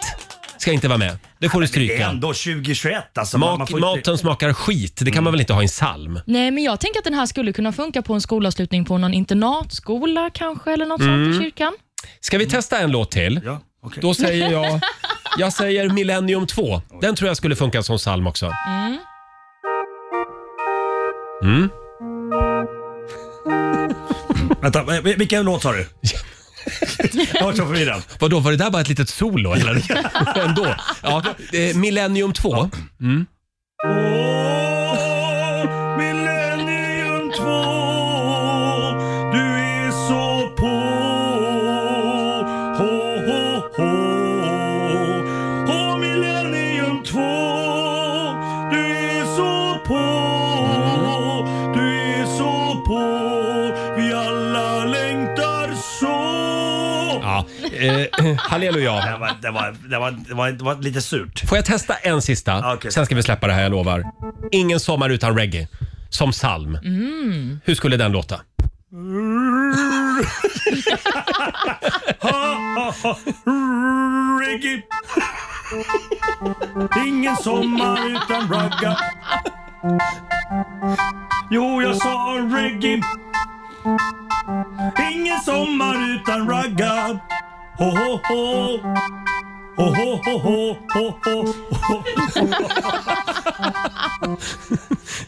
ska inte vara med. Det får du
Det är
stryka.
ändå 2021 alltså. Man- man
Mak,
får inte-
maten smakar skit. Det kan man väl inte ha i en psalm?
Nej, men jag tänker att den här skulle kunna funka på en skolavslutning på någon internatskola kanske, eller något
Mm.
sånt i kyrkan.
Ska vi testa en låt till?
Ja, okej.
Då säger jag... Jag säger Millennium 2. Den tror jag skulle funka som psalm också.
Vänta, eh, vilken låt sa du? jag var så förvirrad.
Vadå, var det där bara ett litet solo eller? Ändå. Ja, eh, Millennium 2.
Åh, Millennium 2 Du är så på ho, ho, ho. Åh, Millennium 2 Du är så på Du är så på Vi alla längtar så
Ja. Eh, halleluja.
det var, det, var, det, var, det, var, det var lite surt.
Får jag testa en sista?
Okej.
Sen ska vi släppa det här, jag lovar. Ingen sommar utan reggae. Som psalm.
Mm.
Hur skulle den låta?
Reggae. Ingen sommar utan ragga. Jo, jag sa reggae. Ingen sommar utan raggar. Ho, ho, ho. Ho, ho, ho, ho, ho, ho, ho.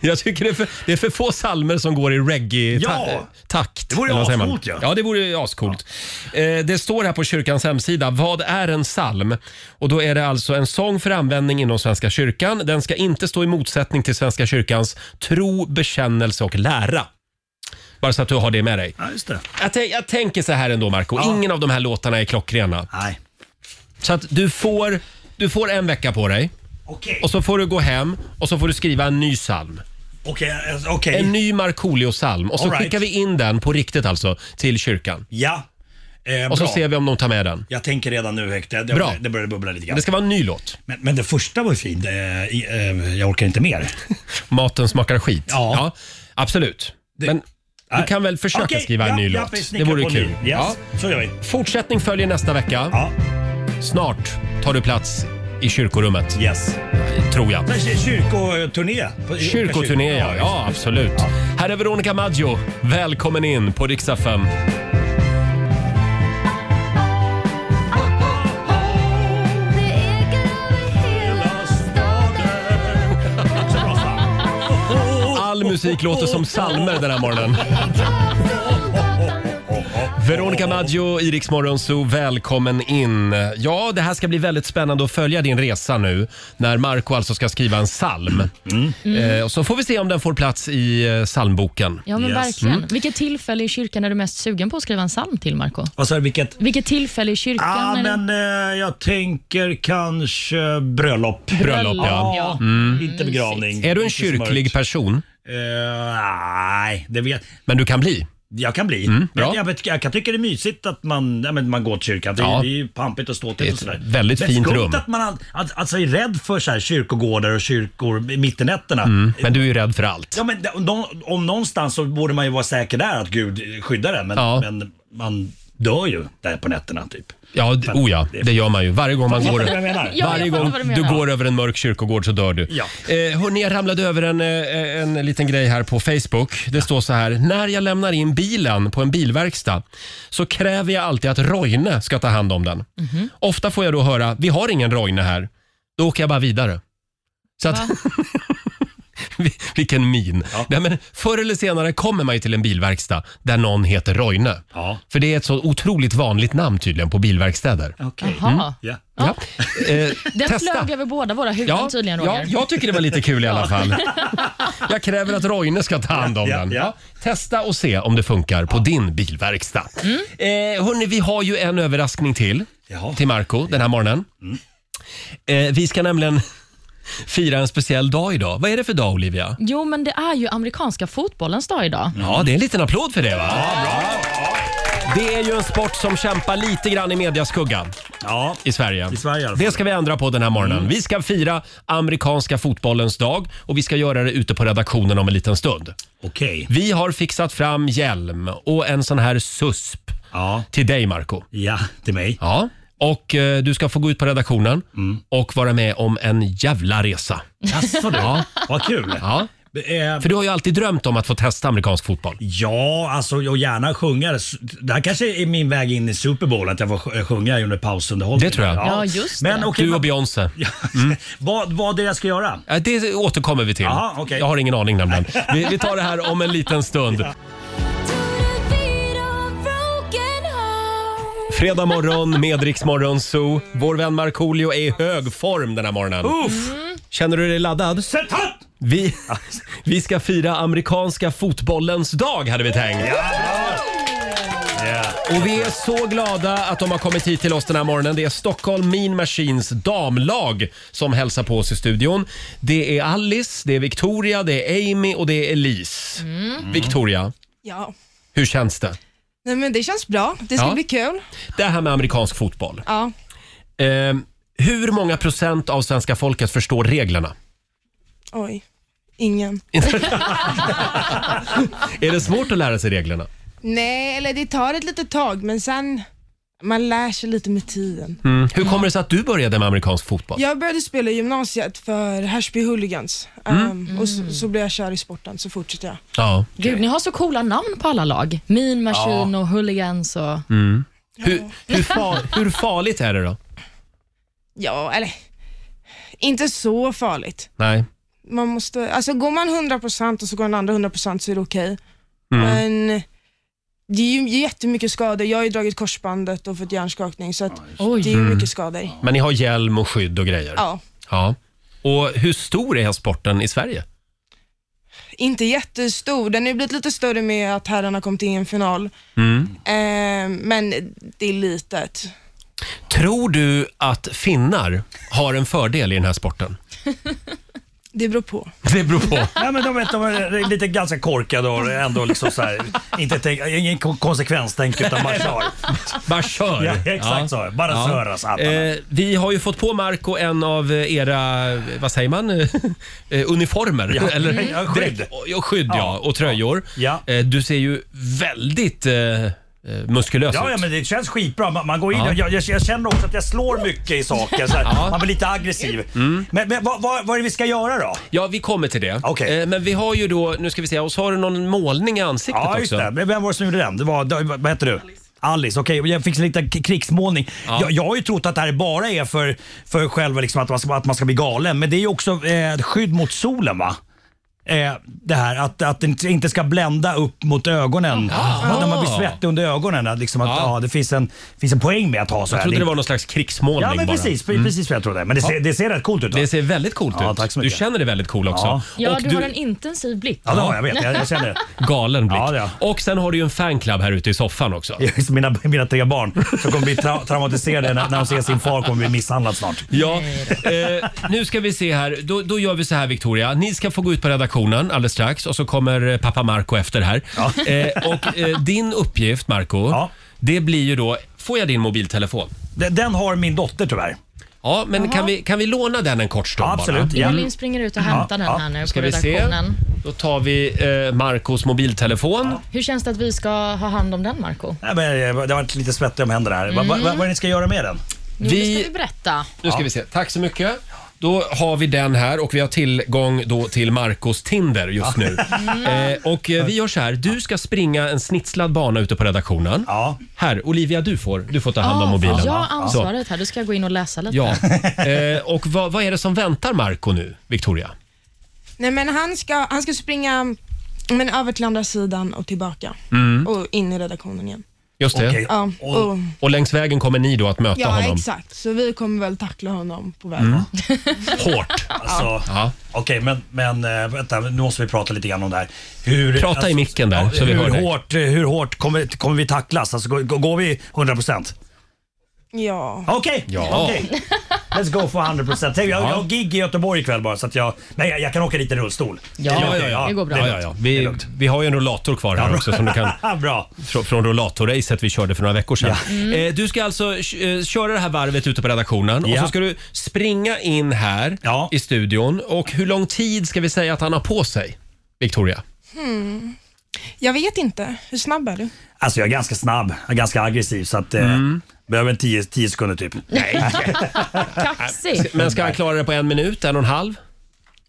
Jag tycker det är, för, det är för få salmer som går i
Ja.
reggae-takt.
Det vore ascoolt ju.
ja. ja, det vore ascoolt. Eh, det står här på kyrkans hemsida, vad är en psalm? Och då är det alltså en sång för användning inom Svenska kyrkan. Den ska inte stå i motsättning till Svenska kyrkans tro, bekännelse och lära. Bara så att du har det med dig.
Ja, just det.
Jag, tän- jag tänker så här ändå, Marco. Ingen av de här låtarna är klockrena.
Nej.
Så att du får, du får en vecka på dig.
Okej.
Och så får du gå hem och så får du skriva en ny psalm.
Okej, eh, okej.
En ny Markoolio-psalm och så
All right.
skickar vi in den på riktigt alltså till kyrkan.
Ja. Eh,
Och så
bra.
ser vi om de tar med den.
Jag tänker redan nu högt. Det, det-
Bra.
det börjar bubbla lite grann.
Det ska vara en ny låt.
Men, men det första var ju fint. Eh, i- eh, jag orkar inte mer.
Maten smakar skit.
Ja.
absolut. Men du
Nej.
kan väl försöka
Okej,
skriva en
ja,
ny
ja, vi
låt. Det
snickrar
vore
på en
kul.
ny. Yes,
Ja.
Så gör vi.
Fortsättning följer nästa vecka.
Ja,
Snart tar du plats i kyrkorummet,
yes.
tror jag.
Men Kyrkoturné. På- i-
Kyrkoturné, ja. Ja, absolut. Här är Veronica Maggio. Välkommen in på riksdag 5.
Så bra, fan.
All musik låter som psalmer den här morgonen. Veronica Maggio, Iriks Morgonzoo, välkommen in. Ja, det här ska bli väldigt spännande att följa din resa nu när Marco alltså ska skriva en psalm. Eh, och så får vi se om den får plats i eh, psalmboken.
Ja, men
Yes.
verkligen.
Mm.
Vilket tillfälle i kyrkan är du mest sugen på att skriva en psalm till, Marco?
Vad sa du, vilket?
Vilket tillfälle i kyrkan?
Ja,
är det-
men eh, jag tänker kanske bröllop.
Bröllop, ja. Mm.
ja.
Inte begravning.
Är du en
Inte
kyrklig
smörkt.
person?
Eh, nej, det vet
Men du kan bli.
jag. kan bli.
Mm, bra.
Men jag, vet- jag kan tycka det är mysigt att man, ja, men man går till kyrkan. Det,
Ja.
det är ju pampigt och ståtigt
Det är
och sådär.
ett väldigt
men
fint
skumt
rum.
att man all, att, alltså är rädd för så här kyrkogårdar och kyrkor mitt i nätterna.
Mm, Men du är ju rädd för allt.
Ja, men det- om- om någonstans så borde man ju vara säker där att Gud skyddar en. Men,
Ja.
men man dör ju där på nätterna typ.
Ja, d- oh ja, det gör man ju. Varje gång man
Fattar
går...
du vad jag menar?
Ja,
Varje
jag fattar
gång
vad
du,
du menar.
går över en mörk kyrkogård så dör du.
Ja.
Eh, hörni, jag ramlade över en, eh, en liten grej här på Facebook. Det står så här. När jag lämnar in bilen på en bilverkstad så kräver jag alltid att Roine ska ta hand om den.
Mhm.
Ofta får jag då höra, vi har ingen Roine här. Då åker jag bara vidare. Så att,
Va?
Vil- vilken min. Nej, men förr eller senare kommer man ju till en bilverkstad där någon heter Roine.
Ja.
För det är ett så otroligt vanligt namn tydligen på bilverkstäder.
Okej.
Jaha.
Ja.
Ja. Eh,
Den
Mm. testa.
flög över båda våra huvuden tydligen, Roger.
ja, jag tycker det var lite kul i alla fall. Jag kräver att Roine ska ta hand om
Ja, ja,
den.
ja.
Ja, testa och se om det funkar på din bilverkstad.
Mm.
Eh, hörni, vi har ju en överraskning till,
Jaha.
till Marco den här morgonen.
Mm.
Eh, vi ska nämligen fira en speciell dag idag. Vad är det för dag, Olivia?
Jo, men det är ju amerikanska fotbollens dag idag.
Ja, det är en liten applåd för det, va? Det är ju en sport som kämpar lite grann i medias skugga
ja.
i Sverige.
I Sverige i alla fall. Mm.
det ska vi ändra på den här morgonen. Vi ska fira amerikanska fotbollens dag och vi ska göra det ute på redaktionen om en liten stund.
Okej.
Vi har fixat fram hjälm och en sån här susp
Ja.
till dig Marco.
Ja, Mm. till mig.
Ja. Och eh, du ska få gå ut på redaktionen och vara med om en jävla resa.
Jaså du? Ja. Vad kul.
Ja.
Eh,
För du har ju alltid drömt om att få testa amerikansk fotboll.
Ja, alltså och gärna sjunga. Det här kanske är min väg in i Super Bowl, att jag får sj- sjunga under pausunderhållningen.
Det tror jag.
Ja, just
Men,
det.
okej,
Du och
vad-
Beyoncé.
vad, vad är det jag ska göra?
Eh, Det återkommer vi till.
Jaha, okej.
Jag har ingen aning nämligen. Vi, vi tar det här om en liten stund. Fredag morgon med Rix Morgon Zoo. Vår vän Markoolio är i hög form den här morgonen.
Uff!
Känner du dig laddad?
Sätt upp!
Vi, vi ska fira amerikanska fotbollens dag hade vi tänkt.
Ja.
Och vi är så glada att de har kommit hit till oss den här morgonen. Det är Stockholm Mean Machines damlag som hälsar på oss i studion. Det är Alice, det är Victoria, det är Amy och det är Elise. Victoria,
Ja.
hur känns det?
Nej, men det känns bra. Det ska
Ja.
bli kul.
Det här med amerikansk fotboll.
Ja.
Eh, hur många procent av svenska folket förstår reglerna?
Oj. Ingen.
Är det svårt att lära sig reglerna? Mm.
Nej, eller det tar ett litet tag, men sen... Man lär sig lite med tiden.
Mm. Hur kommer det sig att du började med amerikansk fotboll?
Jag började spela i gymnasiet för Hersby Hooligans
Mm.
Ehm, och så, så blev jag kär i sporten, så fortsatte jag.
Ja.
Gud, ni har så coola namn på alla lag. Mean Machine och Hooligans och...
Mm. Hur, hur, far, hur farligt är det då?
Ja, eller inte så farligt.
Nej.
Man måste, alltså går man 100% och så går den andra 100% så är det okej.
Mm.
Men det är ju jättemycket skador. Jag har ju dragit korsbandet och fått hjärnskakning så att det är ju
Mm.
mycket skador.
Men ni har hjälm och skydd och grejer?
Ja,
ja. Och hur stor är sporten i Sverige?
inte jättestor. Den har ju blivit lite större med att herrarna kom till en final.
Mm.
Ehm, men det är litet.
Tror du att finnar har en fördel i den här sporten?
Det beror på.
Det beror på.
Nej, men de, vet, de är lite ganska korkade och ändå liksom så här, inte tänk, ingen kon- konsekvenstänk utan bara kör.
Bara kör.
Ja, exakt så. Bara alltså, köra, satan.
eh, Vi har ju fått på Marco en av era, vad säger man, Eh, uniformer.
Ja.
Eller
Mm. Ja, skydd.
Direkt, ja, skydd ja. och tröjor. Eh, Du ser ju väldigt eh, eh, muskulös
Ja,
ut.
ja, men det känns skitbra. Man, man går in
Ja.
och jag, jag, jag känner också att jag slår mycket i saker. Så här,
Ja. Mm.
Man blir lite aggressiv. Men, men vad, vad, vad är det vi ska göra då?
Ja, vi kommer till det. Eh,
Okay.
Men vi har ju då, nu ska vi se, och så har du någon målning i ansiktet
Ja, just
också.
det. Men Vem var det som gjorde den? Det var, det- vad heter du? Alice, okej. Jag fick en liten k- krigsmålning. Jag, jag har ju trott att det här bara är för, för själva liksom att, man ska, att man ska bli galen, men det är ju också eh, skydd mot solen va? Eh, det här att, att det inte- inte ska blända upp mot ögonen. Att när man blir svettig under ögonen. att Liksom att, ja. det finns en, finns en poäng med att ha så
Jag
här.
trodde det var någon slags krigsmålning
Ja, men
bara.
precis.
Mm.
Precis vad jag trodde. Men det ser,
Ja.
det ser rätt coolt ut va?
Det ser väldigt coolt
Ja,
ut.
tack så
du
mycket.
känner dig väldigt cool också.
Ja.
Ja,
Och
du, har en intensiv blick.
Ja, det har jag,
vet. Jag- jag känner det.
Galen blick. Och sen har du ju en fanclub här ute i soffan också.
Just mina, mina tre barn som kommer bli tra- traumatiserade när, när de ser sin far kommer bli misshandlad snart.
Ja, eh, nu ska vi se här. Då, då gör vi så här Victoria. Ni ska få gå ut på redaktionen alldeles strax och så kommer eh, pappa Marco efter här. Eh, och eh, din uppgift Marco, det blir ju då, får jag din mobiltelefon?
Den, har min dotter tyvärr.
Ja, men
Jaha.
kan vi, kan vi låna den en kort stund
absolut,
bara?
Elin springer ut och hämtar den här nu
Ska
på
vi se.
redaktionen.
Då tar vi eh, Marcos mobiltelefon.
Hur känns det att vi ska ha hand om den, Marco?
Nej, men jag jag har varit lite svettig om händerna här. Va- va-
Mm.
va- vad är det ni ska göra med den?
Jo, det ska vi berätta.
Nu ska vi se. Tack så mycket. Då har vi den här och vi har tillgång då till Marcos Tinder just nu. Eh, och eh, vi gör så här. Du ska springa en snitslad bana ute på redaktionen. Här, Olivia, du får, du får ta hand om
Ja,
mobilen.
Jag har
Så.
ansvaret här. Du ska jag gå in och läsa lite.
Ja. Eh, och vad, vad är det som väntar Marco nu, Victoria?
Nej men han ska, han ska springa men över till andra sidan och tillbaka.
Mm.
Och in i redaktionen igen.
Just det.
Okej. Ja,
och,
och-
och längs vägen kommer ni då att möta
ja,
honom.
exakt. Så vi kommer väl tackla honom på vägen.
Mm. Hårt.
Alltså, Okej, men, men eh, vänta, nu måste vi prata lite grann om det här. Hur, alltså,
Prata i micken där, så vi hör
hur,
dig.
hårt, hur hårt kommer, kommer vi tacklas? Alltså, går, går vi 100 procent?
Ja.
Okej!
Ja.
okej. Let's go for 100 procent. Jag, jag
Ja.
har gig i Göteborg ikväll bara, så att jag, men jag, jag kan åka dit i rullstol.
Ja, ja, ja. Vi, vi har ju en rullator kvar här
bra.
också som du kan...
bra.
Från, från rullatorracet vi körde för några veckor sedan.
Ja.
Eh, du ska alltså eh, köra det här varvet ute på redaktionen och
Mm. Ja.
så ska du springa in här i studion. Och hur lång tid ska vi säga att han har på sig? Victoria?
Hmm. Jag vet inte. Hur snabb är du?
Alltså jag är ganska snabb, jag är ganska aggressiv så att... Eh,
Mm.
Behöver en 10 sekunder typ. Nej.
Kaxig.
Men ska han klara det på en minut, en och en halv?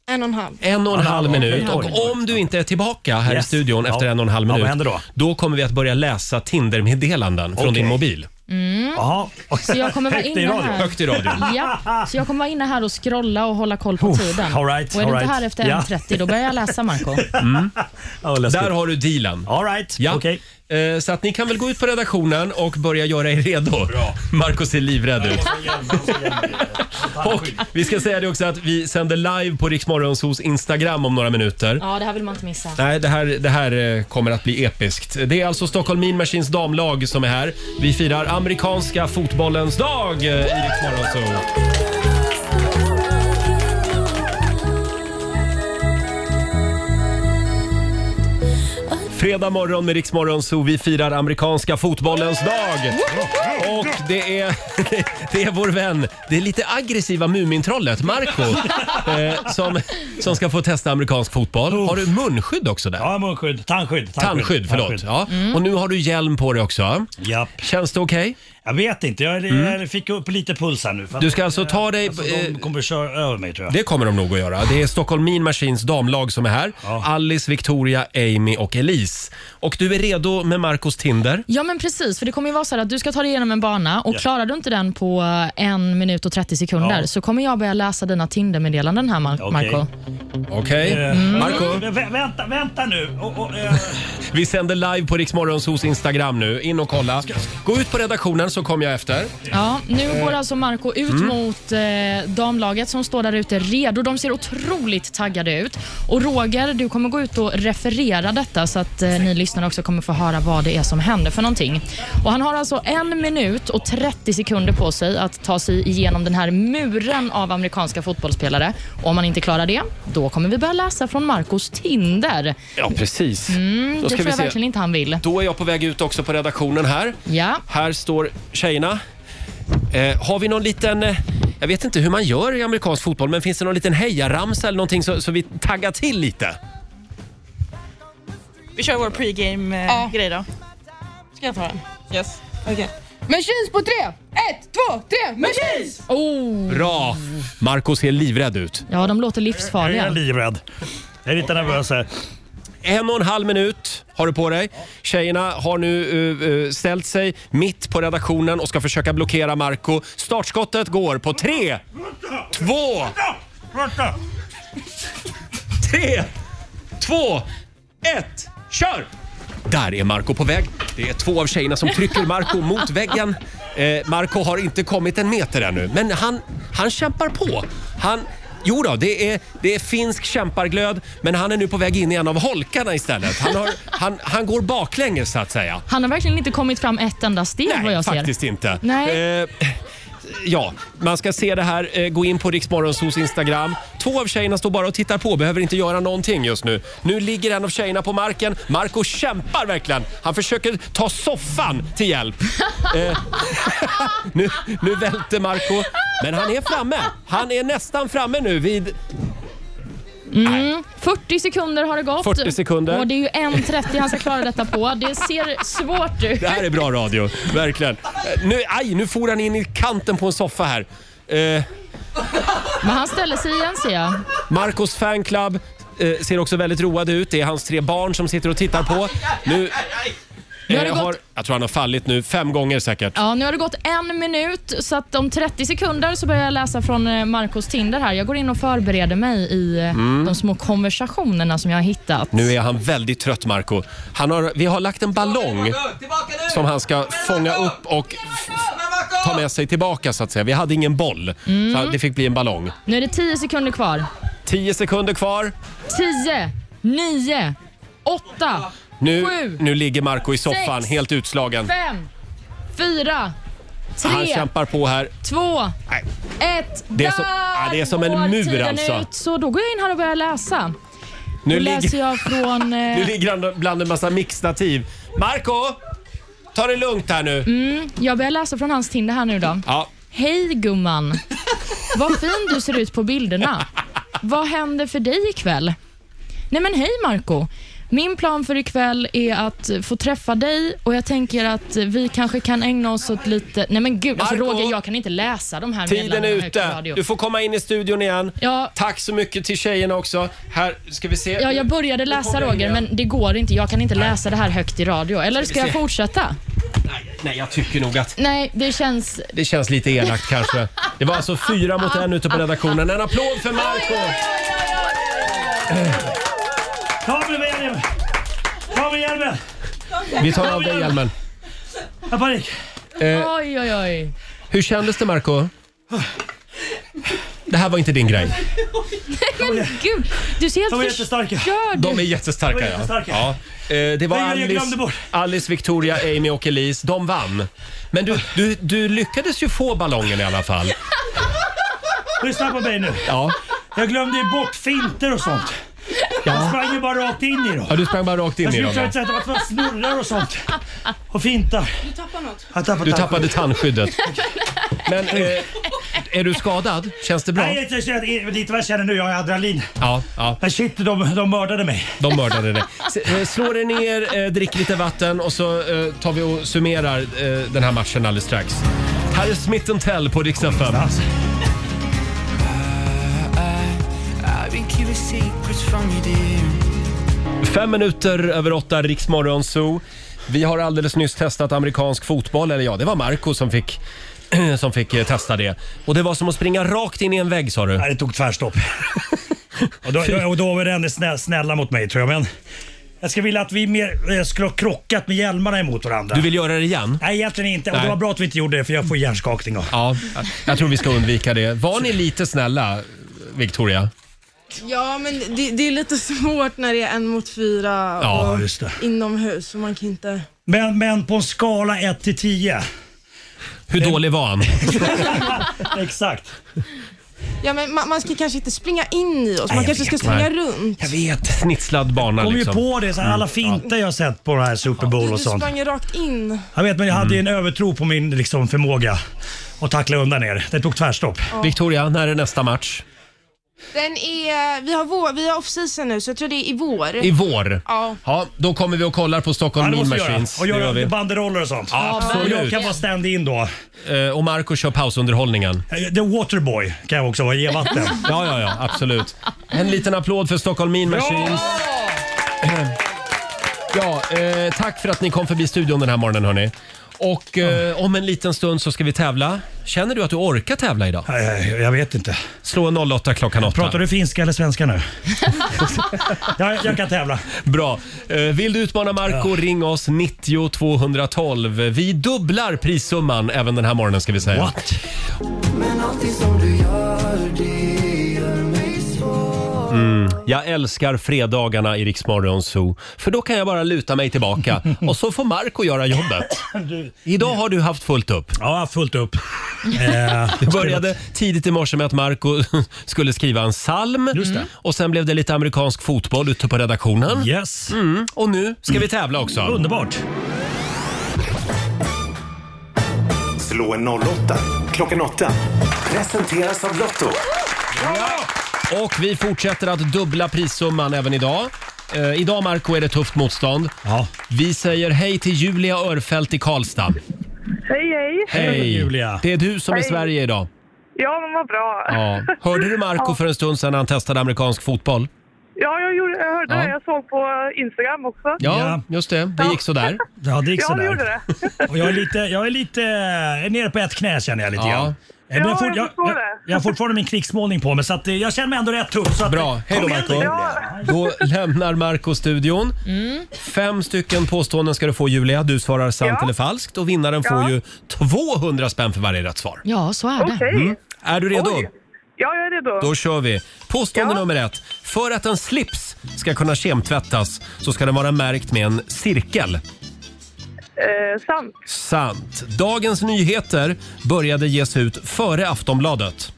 En och en halv.
En och en halv minut. Och om du inte är tillbaka här
Yes.
i studion efter
Ja.
en och en halv
Ja,
minut,
vad händer då?
kommer vi att börja läsa Tinder-meddelanden från
Okej.
din mobil.
Mm. Så jag kommer vara inne här.
Högt i radion.
Ja, så jag kommer vara inne här och scrolla och hålla koll på tiden.
all right,
och är
all
du
right.
inte här efter
Ja.
1.30 då börjar jag läsa Marco.
Mm. Där har du dealen.
All right.
ja. Eh, Så att ni kan väl gå ut på redaktionen och börja göra er redo. Bra. Marco ser livrädd ut. och vi ska säga det också att vi sänder live på Riksmorgonsos Instagram om några minuter.
Ja, det här vill man inte missa.
Nej, det här, det här eh, kommer att bli episkt. Det är alltså Stockholm Mean Machines damlag som är här. Vi firar amerikanska fotbollens dag eh, i Riksmorgonso. Fredag morgon med Riksmorgonso. Vi firar amerikanska fotbollens dag. Och det är, det är vår vän, det är lite aggressiva Mumintrollet Marco eh, som, som ska få testa amerikansk fotboll. Har du munskydd också där?
Ja, munskydd. Tandskydd.
Mm.
Tandskydd, förlåt. Ja. Och nu har du hjälm på dig också. Känns det okej?
Jag vet inte, jag,
Mm.
jag fick upp lite puls här nu. för att-
Du ska alltså ta dig...
de kommer köra över mig tror jag.
Det kommer de nog att göra. Det är Stockholm Mean Machines damlag som är här. Alice, Victoria, Amy och Elise. Och du är redo med Marcos Tinder.
Ja, men precis. För det kommer ju vara så här att du ska ta dig igenom en bana och
Ja.
klarar du inte den på eh, en minut och 30 sekunder
Ja.
så kommer jag börja läsa dina Tinder-meddelanden här, Mar- Marco.
Okej.
Mm.
Eh,
Marco,
vä- vä- vänta, vänta nu. Och, och, eh,
vi sänder live på Riksmorgonsos Instagram nu. In och kolla. Gå ut på redaktionen så kommer jag efter.
Ja, nu
Eh.
går alltså Marco ut
Mm.
mot eh, damlaget som står där ute redo. De ser otroligt taggade ut. Och Roger, du kommer gå ut och referera detta så att eh, ni lyssnare också kommer få höra vad det är som händer för någonting. Och han har alltså en minut och 30 sekunder på sig att ta sig igenom den här muren av amerikanska fotbollsspelare. Och om han inte klarar det, då kommer vi börja läsa från Marcos Tinder.
Ja, precis.
Mm,
Mm. Då
det
ska
tror
vi
jag
se.
verkligen inte han vill.
Då är jag på väg ut också på redaktionen här.
Ja.
Här står tjejerna. Eh, har vi någon liten... Eh, jag vet inte hur man gör i amerikansk fotboll, men finns det någon liten hejaramsa eller någonting så, så vi taggar till lite?
Vi kör vår pregame-grej då.
Ska jag ta den?
Yes.
Men kyss på tre! Ett, två, tre! Men kyss!
Oh.
Bra! Marco ser livrädd ut.
Ja, de låter livsfarliga.
Jag är
livrädd. Jag är lite nervös här.
En och en halv minut har du på dig. Tjejerna har nu eh, eh, ställt sig mitt på redaktionen och ska försöka blockera Marco. Startskottet går på tre, två,
Vänta!
tre, två, ett, kör! Där är Marco på väg. Det är två av tjejerna som trycker Marco mot väggen. Eh, Marco har inte kommit en meter ännu, men han, han kämpar på. Han, jo då, det är, det är finsk kämparglöd, men han är nu på väg in i en av holkarna istället. Han, har, han, han går baklänges så att säga.
Han har verkligen inte kommit fram ett enda steg vad jag ser.
Faktiskt inte.
Nej.
Eh, ja, man ska se det här. Eh, gå in på Riksmorgonsos Instagram. Två av tjejerna står bara och tittar på, behöver inte göra någonting just nu. Nu ligger en av tjejerna på marken. Marco kämpar verkligen. Han försöker ta soffan till hjälp. Eh, nu, nu välter Marco, men han är framme. Han är nästan framme nu vid...
Mm. 40 sekunder har det gått.
40 sekunder.
Och det är ju 1.30 han ska klara detta på. Det ser svårt ut.
Det här är bra radio, verkligen. Eh, Nu, aj, nu for han in i kanten på en soffa här. Eh,
Men han ställer sig igen ser jag.
Marcos fanclub eh, ser också väldigt road ut. Det är hans tre barn som sitter och tittar på. Nu,
Nu har det
eh,
gått-
har, jag tror han har fallit nu fem gånger säkert.
Ja, nu har det gått en minut, så att om 30 sekunder så börjar jag läsa från eh, Marcos Tinder här. Jag går in och förbereder mig i eh,
Mm.
de små konversationerna som jag har hittat.
Nu är han väldigt trött Marco. Han har, vi har lagt en ballong som han ska fånga upp och f- ta med sig tillbaka så att säga. Vi hade ingen boll,
Mm.
så det fick bli en ballong.
Nu är det 10 sekunder kvar.
Tio sekunder kvar.
10, 9, 8,
Nu,
Sju.
nu ligger Marco i soffan
Sex.
helt utslagen.
5, 4,
Han
3,
kämpar på här.
2,
Nej.
1.
Det är som-
Där
ja, det är som en
går
mur,
tiden
alltså.
Ut, så då går jag in här och börjar läsa.
Nu
då
ligger-
läser jag från... eh,
Nu ligger han bland en massa mixtativ. Marco! Ta det lugnt här nu.
mm, jag börjar läsa från hans Tinder här nu då.
Ja.
Hej gumman. Vad fin du ser ut på bilderna. Vad händer för dig ikväll? Nej men hej Marco. Min plan för ikväll är att få träffa dig och jag tänker att vi kanske kan ägna oss åt lite... Nej men gud, alltså,
Marco!
Roger jag kan inte läsa de här
Tiden är
meddelandena högt på
ute.
radio.
Du får komma in i studion igen. Tack så mycket till tjejerna också. Här ska vi se.
Ja, jag började läsa Roger, men det går inte. Jag kan inte läsa det här högt i radio. Eller
vi
ska jag
se?
fortsätta?
Nej, jag tycker nog att
Nej, det känns...
det känns lite elakt kanske. Det var alltså fyra mot en ute på redaktionen. En applåd för Marco
Ta av dig hjälmen! Ta av dig hjälmen!
Vi tar av dig hjälmen.
Jag har panik.
Eh,
Oj, oj, oj.
hur kändes det Marco? Det här var inte din grej.
Nej, men gud. Du ser helt
De är jättestarka.
förstörd
De är
ut.
jättestarka.
De är jättestarka.
Ja. Ja. Eh, Det var
Nej, jag glömde
Alice,
bort.
Alice, Victoria, Amy och Elise. De vann. Men du, du, du lyckades ju få ballongen i alla fall.
Lyssna på mig nu.
Ja.
Jag glömde ju bort finter och sånt. Jag sprang ju bara rakt in i dem.
Ja, du sprang bara rakt in
jag
i dem.
skulle försöka sätta varför snurrar och sånt. Och fintar.
Du tappar något.
Jag tappade
Du tappade tandskyddet. Men eh, Är du skadad? Känns det bra?
Nej, jag känner, lite vad jag känner nu. Jag har adrenalin.
Ja, ja.
Men shit, de, de mördade mig.
De mördade dig. S- eh, Slå dig ner, eh, drick lite vatten och så eh, tar vi och summerar eh, den här matchen alldeles strax. Här är Smith Tell på Dixon 5. Fem minuter över åtta, Riksmorgon Zoo. Vi har alldeles nyss testat amerikansk fotboll, eller ja, det var Marco som fick som fick eh, testa det. Och det var som att springa rakt in i en vägg sa du? Nej,
det tog tvärstopp. Och då, och då var den snä, snälla mot mig tror jag. Men jag skulle vilja att vi mer, eh, skulle ha krockat med hjälmarna emot varandra.
Du vill göra det igen?
Nej, egentligen inte. Och
Nej.
det var bra att vi inte gjorde det för jag får hjärnskakning av.
Ja, jag tror vi ska undvika det. Var ni lite snälla, Victoria?
Ja, men det, det är lite svårt när det är en mot fyra
Ja,
och
just det.
inomhus. Så man kan inte...
Men, men på en skala 1 till 10.
Hur dålig var han?
Exakt.
Ja, men man, man ska kanske inte springa in i oss.
Nej,
Man
jag
kanske ska
vet.
springa
Nej.
runt.
Jag vet.
Snitslad bana
Jag kom ju
liksom.
på det, så här, alla finter jag har sett på det här Super Bowl
Du,
och
du
sånt.
sprang ju rakt in.
Jag vet, men jag hade ju en
Mm.
övertro på min liksom, förmåga att tackla undan er. Det tog tvärstopp.
Ja.
Victoria, när är nästa match?
Den är... Vi har, vår, vi har off-season nu, så jag tror det är i vår.
I vår?
Ja.
Ja, då kommer vi och kollar på Stockholm
Ja, det
Mean
måste vi
Machines.
göra. Och
Det
göra
vi.
banderoller och sånt.
Ja,
Och
absolut.
jag kan vara stand-in då.
Eh, Och Marco kör pausunderhållningen.
Eh, The Waterboy kan jag också vara, ge vatten.
Ja, ja, ja, absolut. En liten applåd för Stockholm Mean Machines. Ja, eh, tack för att ni kom förbi studion den här morgonen hörni. Och eh, om en liten stund så ska vi tävla. Känner du att du orkar tävla idag?
Eh, Jag vet inte.
Slå en 08 klockan 8.
Pratar du finska eller svenska nu? jag, jag kan tävla.
Bra. Eh, Vill du utmana Marco, ring oss 90 212. Vi dubblar prissumman även den här morgonen ska vi säga.
What?
Men allting som du gör, det gör mig svår
Mm. Jag älskar fredagarna i Riksmorgon Zoo, för då kan jag bara luta mig tillbaka och så får Marco göra jobbet. Idag har du haft fullt upp.
Ja, fullt upp. Eh,
Det började tidigt i morse med att Marco skulle skriva en psalm och sen blev det lite amerikansk fotboll ute på redaktionen.
Yes.
Mm. Och nu ska vi tävla också.
Underbart.
Slå en 08 klockan 8 Presenteras av Lotto
Och vi fortsätter att dubbla prissumman även idag. Eh, idag Marco är det tufft motstånd. Vi säger hej till Julia Örfelt i Karlstad.
Hej, hej.
Julia. Det är du som är
Hej.
Sverige idag.
Ja, men vad bra.
Ja. Hörde du Marco
Ja.
för en stund sedan när han testade amerikansk fotboll?
Ja, jag, gjorde, jag hörde
Ja.
det. Jag såg på Instagram också.
Ja, just det. Det gick sådär. Mm.
Ja, det gick
ja,
sådär.
det gjorde det.
Och jag är lite, jag är lite jag är nere på ett knä känner jag lite
Ja.
grann. Eh, men
Ja,
fort-
jag
jag,
förstår
jag,
det.
jag har fortfarande min krigsmålning på mig så att, eh, jag känner mig ändå rätt tuff. Så att,
Bra. Hej då
Kom igen,
Marco.
Julia.
Då lämnar Marco studion. Fem stycken påståenden ska du få Julia. Du svarar sant eller falskt och vinnaren får ju 200 spänn för varje rätt svar.
Ja, så är det.
Mm. Är du redo?
Ja, jag är redo.
Då kör vi. Påstående nummer ett. För att en slips ska kunna kemtvättas så ska den vara märkt med en cirkel.
Eh, sant.
Sant. Dagens Nyheter började ges ut före Aftonbladet.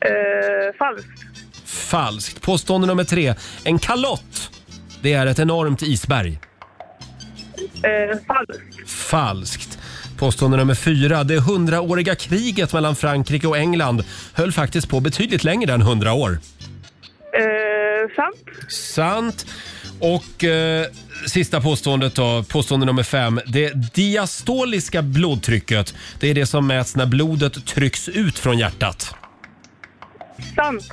Eh, falskt.
Falskt. Påstående nummer tre. En kalott, det är ett enormt isberg.
Eh, falskt.
Falskt. Påstående nummer fyra. Det hundraåriga kriget mellan Frankrike och England höll faktiskt på betydligt längre än hundra år.
Eh, sant.
Sant. Och eh, sista påståendet då, påstående nummer fem. Det diastoliska blodtrycket, det är det som mäts när blodet trycks ut från hjärtat.
Sant.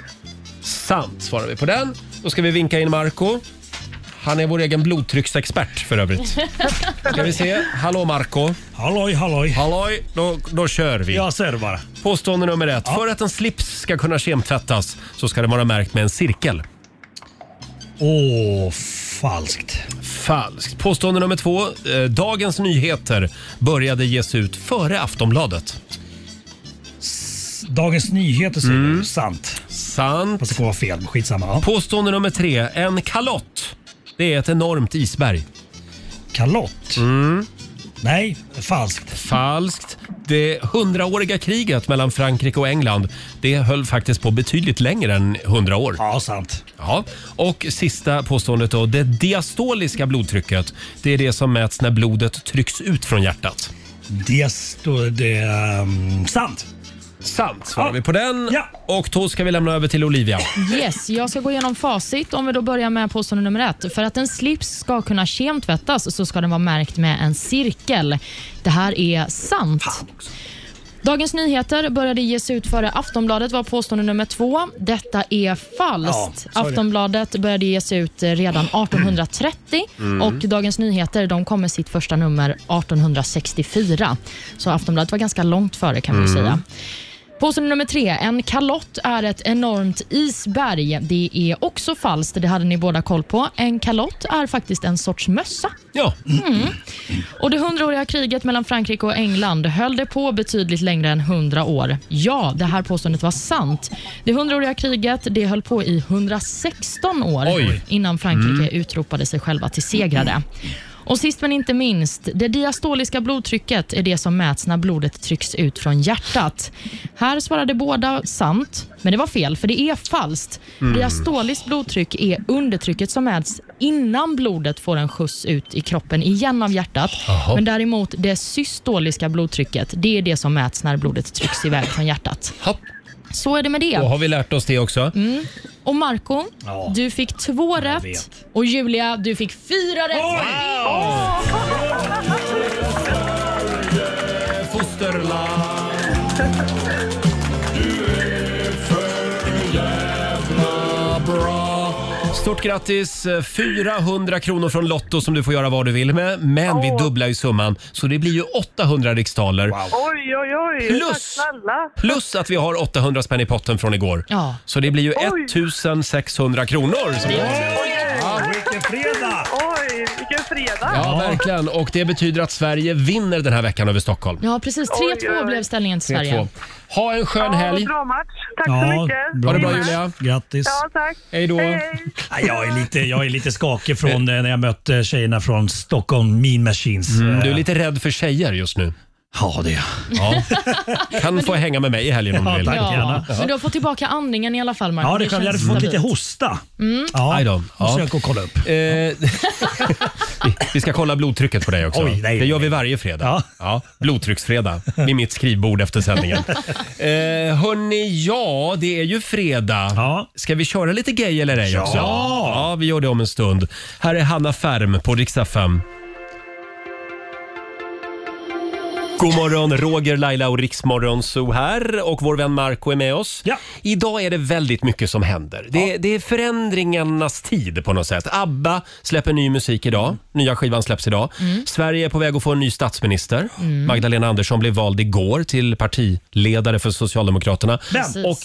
Sant svarar vi på den. Då ska vi vinka in Marco. Han är vår egen blodtrycksexpert för övrigt. Ska vi se. Hallå Marco.
Halloj, halloj.
Halloj, då, då kör vi.
Jag ser det bara.
Påstående nummer ett.
Ja.
För att en slips ska kunna kemtvättas så ska den vara märkt med en cirkel.
Åh, falskt.
Falskt. Påstående nummer två. Eh, Dagens Nyheter började ges ut före Aftonbladet.
Dagens Nyheter säger
Mm.
du. Sant.
Sant.
Fast det kommer vara fel, men skitsamma. Ja.
Påstående nummer tre. En kalott. Det är ett enormt isberg.
Kalott?
Mm.
Nej, falskt.
Falskt. Det hundraåriga kriget mellan Frankrike och England det höll faktiskt på betydligt längre än hundra år.
Ja, sant.
Ja. Och sista påståendet då. Det diastoliska blodtrycket, det är det som mäts när blodet trycks ut från hjärtat.
Det står det... ehm, sant.
Sant svarar vi på den. Och då ska vi lämna över till Olivia.
Yes, jag ska gå igenom facit om vi då börjar med påstående nummer ett. För att en slips ska kunna kemtvättas så ska den vara märkt med en cirkel. Det här är sant. Dagens Nyheter började ges ut före Aftonbladet var påstående nummer två. Detta är falskt.
Ja, sorry.
Aftonbladet började ges ut eh, redan 1830
Mm.
och Dagens Nyheter de kom med sitt första nummer 1864. Så Aftonbladet var ganska långt före kan man ju
Mm.
säga. Påstående nummer tre. En kalott är ett enormt isberg. Det är också falskt. Det hade ni båda koll på. En kalott är faktiskt en sorts mössa.
Ja.
Mm. Och Det hundraåriga kriget mellan Frankrike och England höll det på betydligt längre än 100 år. Ja, det här påståendet var sant. Det hundraåriga kriget det höll på i 116 år
Oj.
innan Frankrike
Mm.
utropade sig själva till segrare. Och sist men inte minst, det diastoliska blodtrycket är det som mäts när blodet trycks ut från hjärtat. Här svarade båda sant, men det var fel, för det är falskt.
Mm.
Diastoliskt blodtryck är undertrycket som mäts innan blodet får en skjuts ut i kroppen igen av hjärtat.
Jaha.
Men däremot det systoliska blodtrycket, det är det som mäts när blodet trycks iväg från hjärtat. Så är det med det.
Då har vi lärt oss det också.
Mm. Och Marco,
Ja.
du fick två rätt.
vet.
Och Julia, du fick fyra rätt.
Fosterland. Bra. Stort grattis! 400 kronor från Lotto som du får göra vad du vill med. Men vi dubblar ju summan, så det blir ju 800 riksdaler.
Oj, oj, oj. Tack
Plus.
snälla.
Plus att vi har 800 spänn i potten från igår.
Ja.
Så det blir ju
Oj.
1600 kronor. Som vi har.
Vilken fredag!
Oj, vilken fredag.
Ja, verkligen. Och det betyder att Sverige vinner den här veckan över Stockholm.
Ja, precis. 3-2 blev ställningen till
3-2.
Sverige.
Ha en skön helg.
Bra match. Tack så mycket.
Ha det bra Julia.
Grattis.
Ja, tack.
Hej då.
Nej, Jag är lite, jag är lite skakig från eh, när jag mötte tjejerna från Stockholm Mean Machines.
Mm,
Eh,
du är lite rädd för tjejer just nu.
Ja, det är
ja. Kan få hänga med mig i helgen om du vill.
Men du har fått tillbaka andningen i alla fall, Marco.
Ja, det är skönt. Jag hade fått lite
hosta.
Mm.
Aj då. Ja.
Måste jag gå och kolla upp.
Eh, vi- vi ska kolla blodtrycket på dig också.
Oj, nej,
det gör vi varje fredag. Ja. blodtrycksfredag vid mitt skrivbord efter sändningen. Eh, hörni, ja, det är ju fredag. Ska vi köra lite gay eller ej
Ja.
också? Ja, vi gör det om en stund. Här är Hanna Färm på riksdag 5. God morgon, Roger, Laila och Riksmorgon Zoo här och vår vän Marco är med oss. Idag är det väldigt mycket som händer. Det, det är förändringarnas tid på något sätt. ABBA släpper ny musik idag. Nya skivan släpps idag. Sverige är på väg att få en ny statsminister.
Mm.
Magdalena Andersson blev vald igår till partiledare för Socialdemokraterna.
Vem?
Och,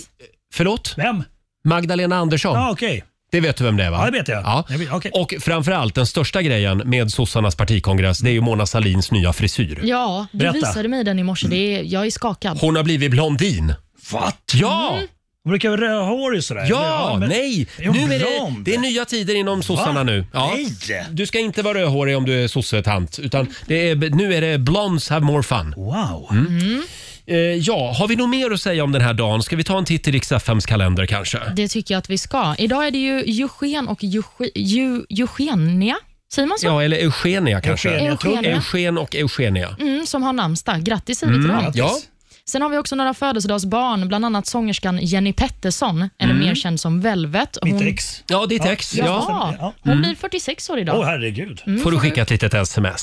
förlåt?
Vem?
Magdalena Andersson.
Ja, okej.
Det vet du vem det är va?
Ja, det vet jag.
Ja. Och framförallt den största grejen med sossarnas partikongress, det är ju Mona Salins nya frisyr.
Ja, du
Berätta.
visade mig den i morse. Det är, jag är skakad.
Hon har blivit blondin. What? Ja!
Hon brukar ha rödhårig sådär.
Ja,
Mm. Ja, men-
nej!
Är hon
Nu är det,
blond?
det är nya tider inom sossarna
Va?
nu.
Nej.
Du ska inte vara rödhårig om du är sossetant. Utan det är, nu är det blondes have more fun.
Wow.
Mm. Eh, ja, har vi något mer att säga om den här dagen? Ska vi ta en titt i riks FMs kalender kanske?
Det tycker jag att vi ska. Idag är det ju Eugen och Euge- Eu- Eugenia, säger man så?
Ja, eller Eugenia kanske?
Eugenia, tror jag.
Eugen och Eugenia.
Mm, som har namnsdag. Grattis säger vi till
Mm,
dem.
ja.
Sen har vi också några födelsedagsbarn, bland annat sångerskan Jenny Pettersson, eller
Mm.
mer känd som Velvet.
Mitt ex. Ja, ditt ex, ja.
Ja.
Ja.
Hon
Mm.
blir 46 år idag.
Åh,
herregud.
Mm,
Får du
får
skicka ett litet sms?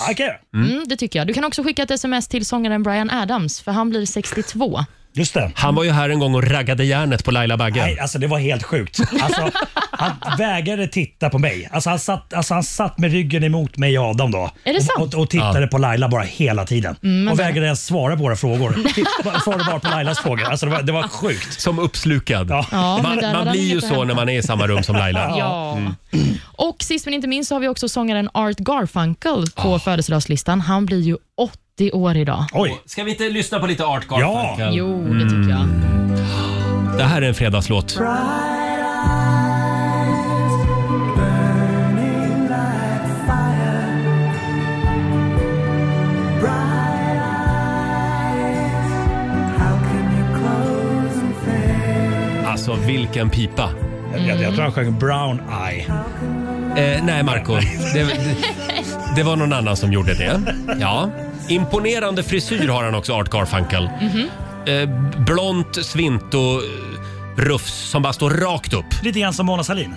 Mm.
Mm.
det tycker jag. Du kan också skicka ett sms till sångaren Brian Adams, för han blir 62.
Just det.
Han var ju här en gång och raggade järnet på Laila Bagge.
Nej, alltså det var helt sjukt. Alltså, han vägrade titta på mig. Alltså, han, satt, alltså, han satt med ryggen emot mig och Adam då.
Är det
och,
sant?
Och, och tittade på Laila bara hela tiden.
Mm, men
och
det-
vägrade ens svara på våra frågor. Titt- Svarade bara på Lailas frågor. Alltså, det, var, det var sjukt.
Som uppslukad.
Ja, men
man
där hade
man
han
blir ju
inget att
så
hämta.
när man är i samma rum som Laila.
Ja.
Mm.
Och sist men inte minst så har vi också sångaren Art Garfunkel på födelsedagslistan. Han blir ju 80 år idag.
Ska vi inte lyssna på lite Art
Garfunkel? Ja. Jo, det
Mm.
tycker jag.
Det här är en fredagslåt. Alltså vilken pipa.
Jag, jag tror han sjöng Brown Eye.
Eh, nej, Marco. Det, det, det var någon annan som gjorde det. Ja. Imponerande frisyr har han också, Art Garfunkel.
Mhm.
eh, blont svinto-rufs som bara står rakt upp.
Lite grann som Mona Sahlin?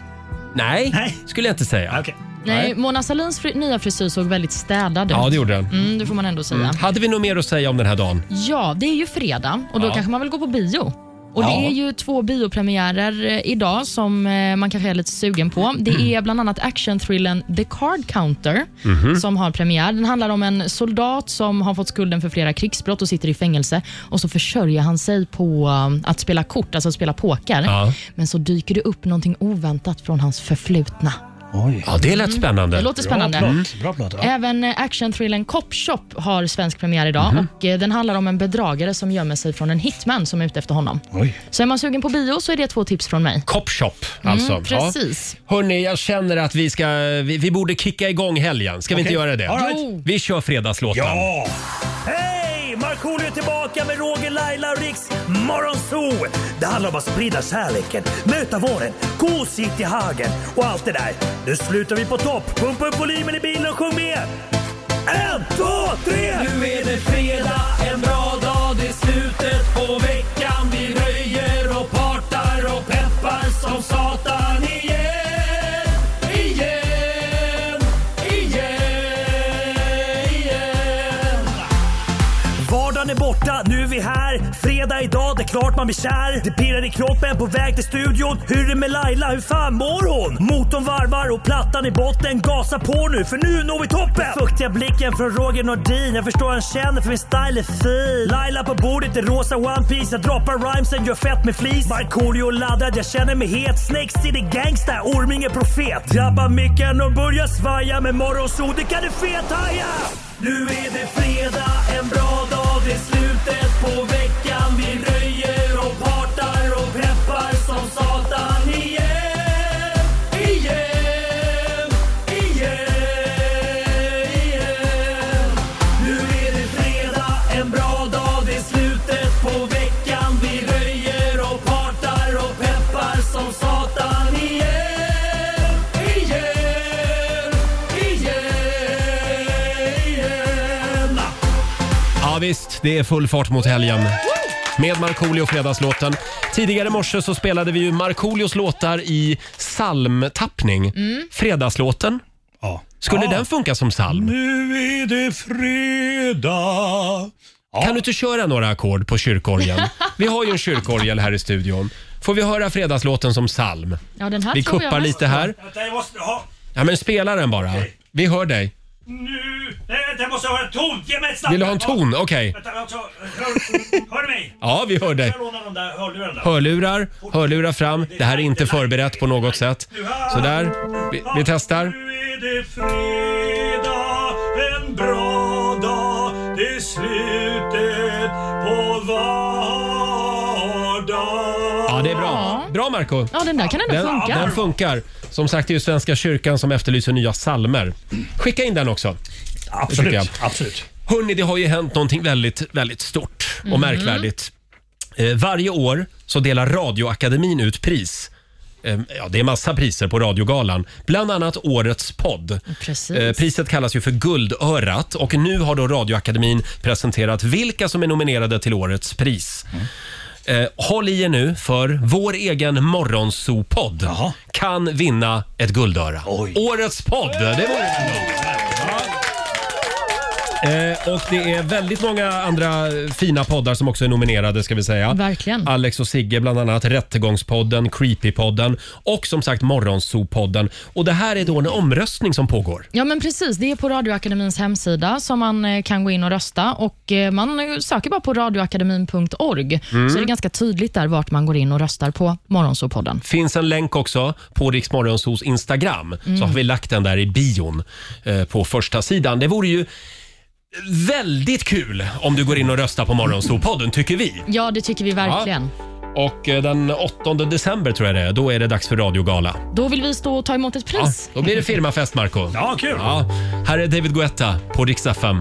Nej, skulle jag inte säga.
Nej, Mona Sahlins fri- nya frisyr såg väldigt städad ut.
Ja, det gjorde den.
Mm, det får man ändå säga.
Mm. Hade vi något mer att säga om den här dagen?
Ja, det är ju fredag och då
Ja.
kanske man vill gå på bio. Och
Ja.
Det är ju två biopremiärer eh, idag som eh, man kanske är lite sugen på.
Mm.
Det är bland annat actionthrillern The Card Counter
Mhm.
som har premiär. Den handlar om en soldat som har fått skulden för flera krigsbrott och sitter i fängelse. Och så försörjer han sig på eh, att spela kort, alltså att spela poker.
Ja.
Men så dyker det upp någonting oväntat från hans förflutna.
Ja, det lät spännande.
Det låter spännande.
Mm.
Bra plåt.
Även eh, actionthrillern Cop Shop har svensk premiär idag.
Mhm.
Och eh, Den handlar om en bedragare som gömmer sig från en hitman som är ute efter honom.
Oj.
Så är man sugen på bio så är det två tips från mig.
Cop Shop, alltså.
Mm, precis.
Ja. Hörni, jag känner att vi, ska, vi, vi borde kicka igång helgen. Ska vi inte
Okej.
göra det?
All right.
Vi kör fredagslåten.
Ja! Hej! Markoolio är tillbaka med Roger, Laila och Riks Morgonzoo! Det handlar om att sprida kärleken, möta våren, gosigt i hagen och allt det där. Nu slutar vi på topp! Pumpa upp volymen i bilen och sjung med! En, två, tre!
Nu är det fredag, en bra dag, det är slutet på veckan Vi röjer och partar och peppar som satan igen Igen, igen, igen
Vardagen är borta, nu är vi här. Fredag idag, det är klart man blir kär. Det pirrar i kroppen på väg till studion. Hur är det med Laila, hur fan mår hon? Motorn varvar och plattan i botten. Gasa på nu, för nu når vi toppen! Den Fuktiga blicken från Roger Nordin. Jag förstår han känner för min style är fin. Laila på bordet i rosa One Piece Jag droppar rhymesen, gör fett med flis. Markoolio laddad, jag känner mig het. Snakes city gangsta, Orminge profet. Drabbar micken och börjar svaja. Med morgonsol, det kan du fethaja!
Nu är det fredag, en bra dag, det är slutet på veckan Vi röjer och partar och peppar som satan igen Igen, igen, igen Nu är det fredag, en bra dag, det är slutet på veckan Vi röjer och partar och peppar som satan igen Igen, igen, igen
Ja visst, det är full fart mot helgen. Med Markoolio och Fredagslåten. Tidigare i morse så spelade vi ju Markoolios låtar i psalmtappning.
Mm.
Fredagslåten. Skulle
Ja.
den funka som psalm?
Nu är det fredag.
Kan du inte köra några ackord på kyrkorgeln? Vi har ju en kyrkorgel här i studion. Får vi höra fredagslåten som psalm?
Ja, den här
vi
tror jag
kuppar
mest
lite
på.
här.
Vänta, jag måste ha...
Ja, men spela den bara. Vi hör dig.
Nu! Nej, vänta, jag måste ha en ton! Ge mig ett snabb...
Vill du ha en ton? Okej.
Vänta, vänta, hör, hör du mig?
Ja, vi hör dig.
Jag lånar de där hörlurarna.
Hörlurar, hörlurar fram. Det här är inte förberett på något sätt. Sådär, vi, vi testar.
Nu är det fredag, en bra dag. Det är slutet på vardag.
Ja, det är bra. Bra Marco
Ja, den där kan ändå
den,
funka.
Den funkar. Som sagt, det är ju Svenska kyrkan som efterlyser nya salmer. Skicka in den också.
Absolut,
absolut. Hörni, det har ju hänt någonting väldigt, väldigt stort och
Mhm.
märkvärdigt. Eh, varje år så delar Radioakademin ut pris. Eh, ja, det är massa priser på Radiogalan. Bland annat Årets podd.
Precis.
Eh, Priset kallas ju för Guldörat och nu har då Radioakademin presenterat vilka som är nominerade till årets pris. Eh, håll i er nu, för vår egen morgonsopodd kan vinna ett guldöra. Årets podd! Det vore Eh, och det är väldigt många andra eh, fina poddar som också är nominerade ska vi säga.
Verkligen.
Alex och Sigge bland annat, Rättegångspodden, Creepypodden och som sagt Morgonzoo-podden. Och det här är då en omröstning som pågår.
Ja, men precis. Det är på Radioakademins hemsida som man eh, kan gå in och rösta. Och eh, Man eh, söker bara på radioakademin.org,
Mm.
så är det ganska tydligt där vart man går in och röstar på Morgonzoo-podden.
finns en länk också på Rix Morgonzoos Instagram. Så
Mm.
har vi lagt den där i bion eh, på första sidan. Det vore ju väldigt kul om du går in och röstar på Morgonzoo-podden, tycker vi.
Ja, det tycker vi verkligen.
Och eh, den 8 december tror jag det är, då är det dags för radiogala.
Då vill vi stå och ta emot ett pris.
Ja, då blir det firmafest, Marco
Ja, kul!
Ja, här är David Guetta på Rix FM.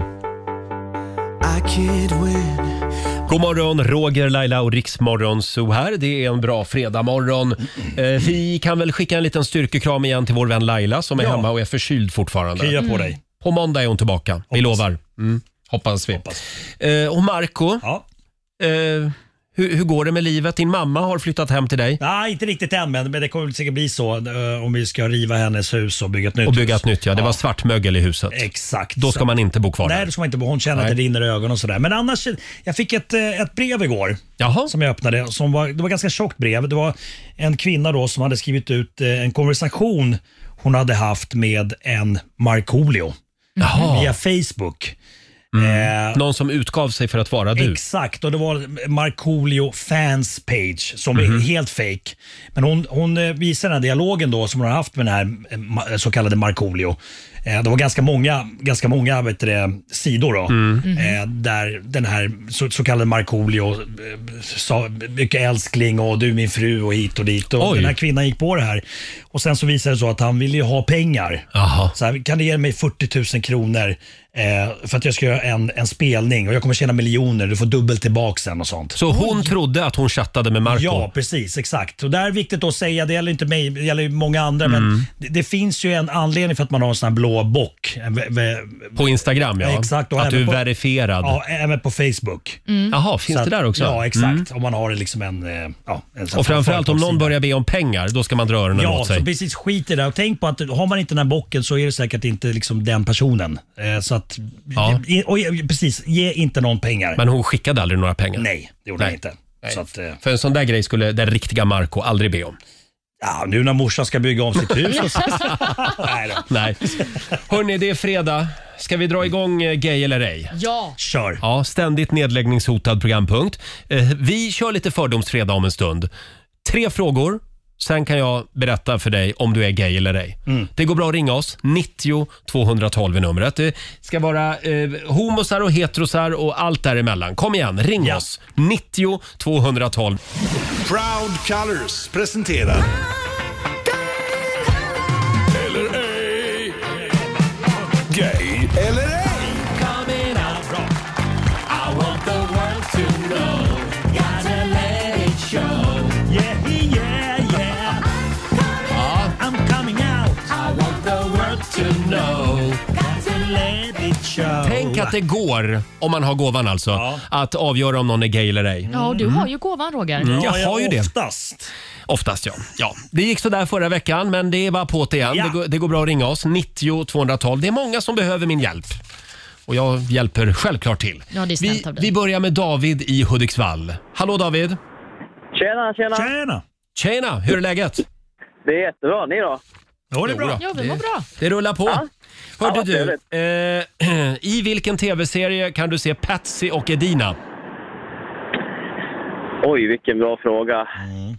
God morgon, Roger, Laila och Riksmorgon Zoo här. Det är en bra fredagmorgon. Eh, vi kan väl skicka en liten styrkekram igen till vår vän Laila som är hemma och är förkyld fortfarande.
Krya på Mm. dig.
På måndag är hon tillbaka, vi lovar. Mm, hoppas vi. Eh, och Marco, eh, hur, hur går det med livet? Din mamma har flyttat hem till dig.
Nej, inte riktigt än, men men det kommer väl säkert bli så eh, om vi ska riva hennes hus och bygga ett nytt
Och bygga
hus.
ett nytt, ja. Det var svartmögel i huset.
Exakt.
Då ska man inte bo kvar
Nej,
där.
då ska man inte bo. Hon känner att det rinner i ögonen och sådär. Men annars, jag fick ett, eh, ett brev igår som jag öppnade. Som var, det var ganska tjockt brev. Det var en kvinna då som hade skrivit ut eh, en konversation hon hade haft med en Markoolio
Jaha.
via Facebook. Eh,
Någon som utgav sig för att vara du.
Exakt, och det var Markoolio fans page som
Mhm.
är helt fake. Men hon, hon eh, visar den här dialogen då som hon har haft med den här eh, ma- så kallade Markoolio. Eh, Det var ganska många, ganska många vet du, det, sidor då,
Mm.
eh, där den här så, så kallade Markoolio eh, sa mycket älskling och du är min fru och hit och dit. Och
Oj.
den här kvinnan gick på det här och sen så visade det sig att han ville ju ha pengar. Så här, kan du ge mig 40 000 kronor eh, för att jag ska göra en, en spelning och jag kommer tjäna miljoner, du får dubbelt tillbaka sen och sånt.
Så hon trodde att hon chattade med Marco?
Ja, precis. Exakt. Och det här är viktigt att säga, det gäller inte mig, det gäller ju många andra,
Mm.
men det, det finns ju en anledning för att man har en sån här blå bock. eh, En vä- vä-
På Instagram ja.
Exakt. och
att
även
du är
på-
verifierad.
Ja, eh, även på Facebook.
Mm. Jaha, finns
Så
det där också?
Ja, exakt.
Mm.
Om man har liksom en... eh, Ja, en sån här
Och framförallt om någon börjar be om pengar, då ska man dra öronen
Ja,
åt sig.
så precis. Skit i det. Och tänk på att har man inte den här bocken så är det säkert inte liksom den personen. Eh, Så att, ge- och, ge- precis, ge inte någon pengar.
Men hon skickade aldrig några pengar?
Nej, det gjorde
Nej.
hon inte. Så att, eh,
För en sån där grej skulle den riktiga Marco aldrig be om.
Ja, nu när morsan ska bygga om sitt hus och Nej
då. Nej. Hörni, det är fredag. Ska vi dra igång eh, Gay eller ej?
Ja.
Kör.
Ja, ständigt nedläggningshotad programpunkt. Eh, Vi kör lite fördomsfredag om en stund. Tre frågor. Sen kan jag berätta för dig om du är gay eller ej. Det går bra att ringa oss. 90 212 är numret. Det ska vara eh, homosar och heterosar och allt däremellan. Kom igen, ring oss. 90 212.
Proud Colors presenterar... Eller ej. Gay eller ej.
Tänk att det går, om man har gåvan alltså, att avgöra om någon är gay eller ej.
Ja, och du har ju gåvan Roger.
Mm, jag har ju det.
Oftast.
Oftast ja. ja. Det gick sådär förra veckan men det är bara på det igen.
Ja.
Det, går, det går bra att ringa oss, 90 212. Det är många som behöver min hjälp. Och jag hjälper självklart till.
Ja, det är
vi,
snällt av dig.
vi börjar med David i Hudiksvall. Hallå David!
Tjena, tjena.
Tjena!
Tjena, hur är läget?
Det är jättebra. Ni då?
Jo,
det är bra.
Ja, vi mår bra.
Det rullar på. Hörde
Ja, vad
du, eh, i vilken tv-serie kan du se Patsy och Edina?
Oj, vilken bra fråga.
Mm.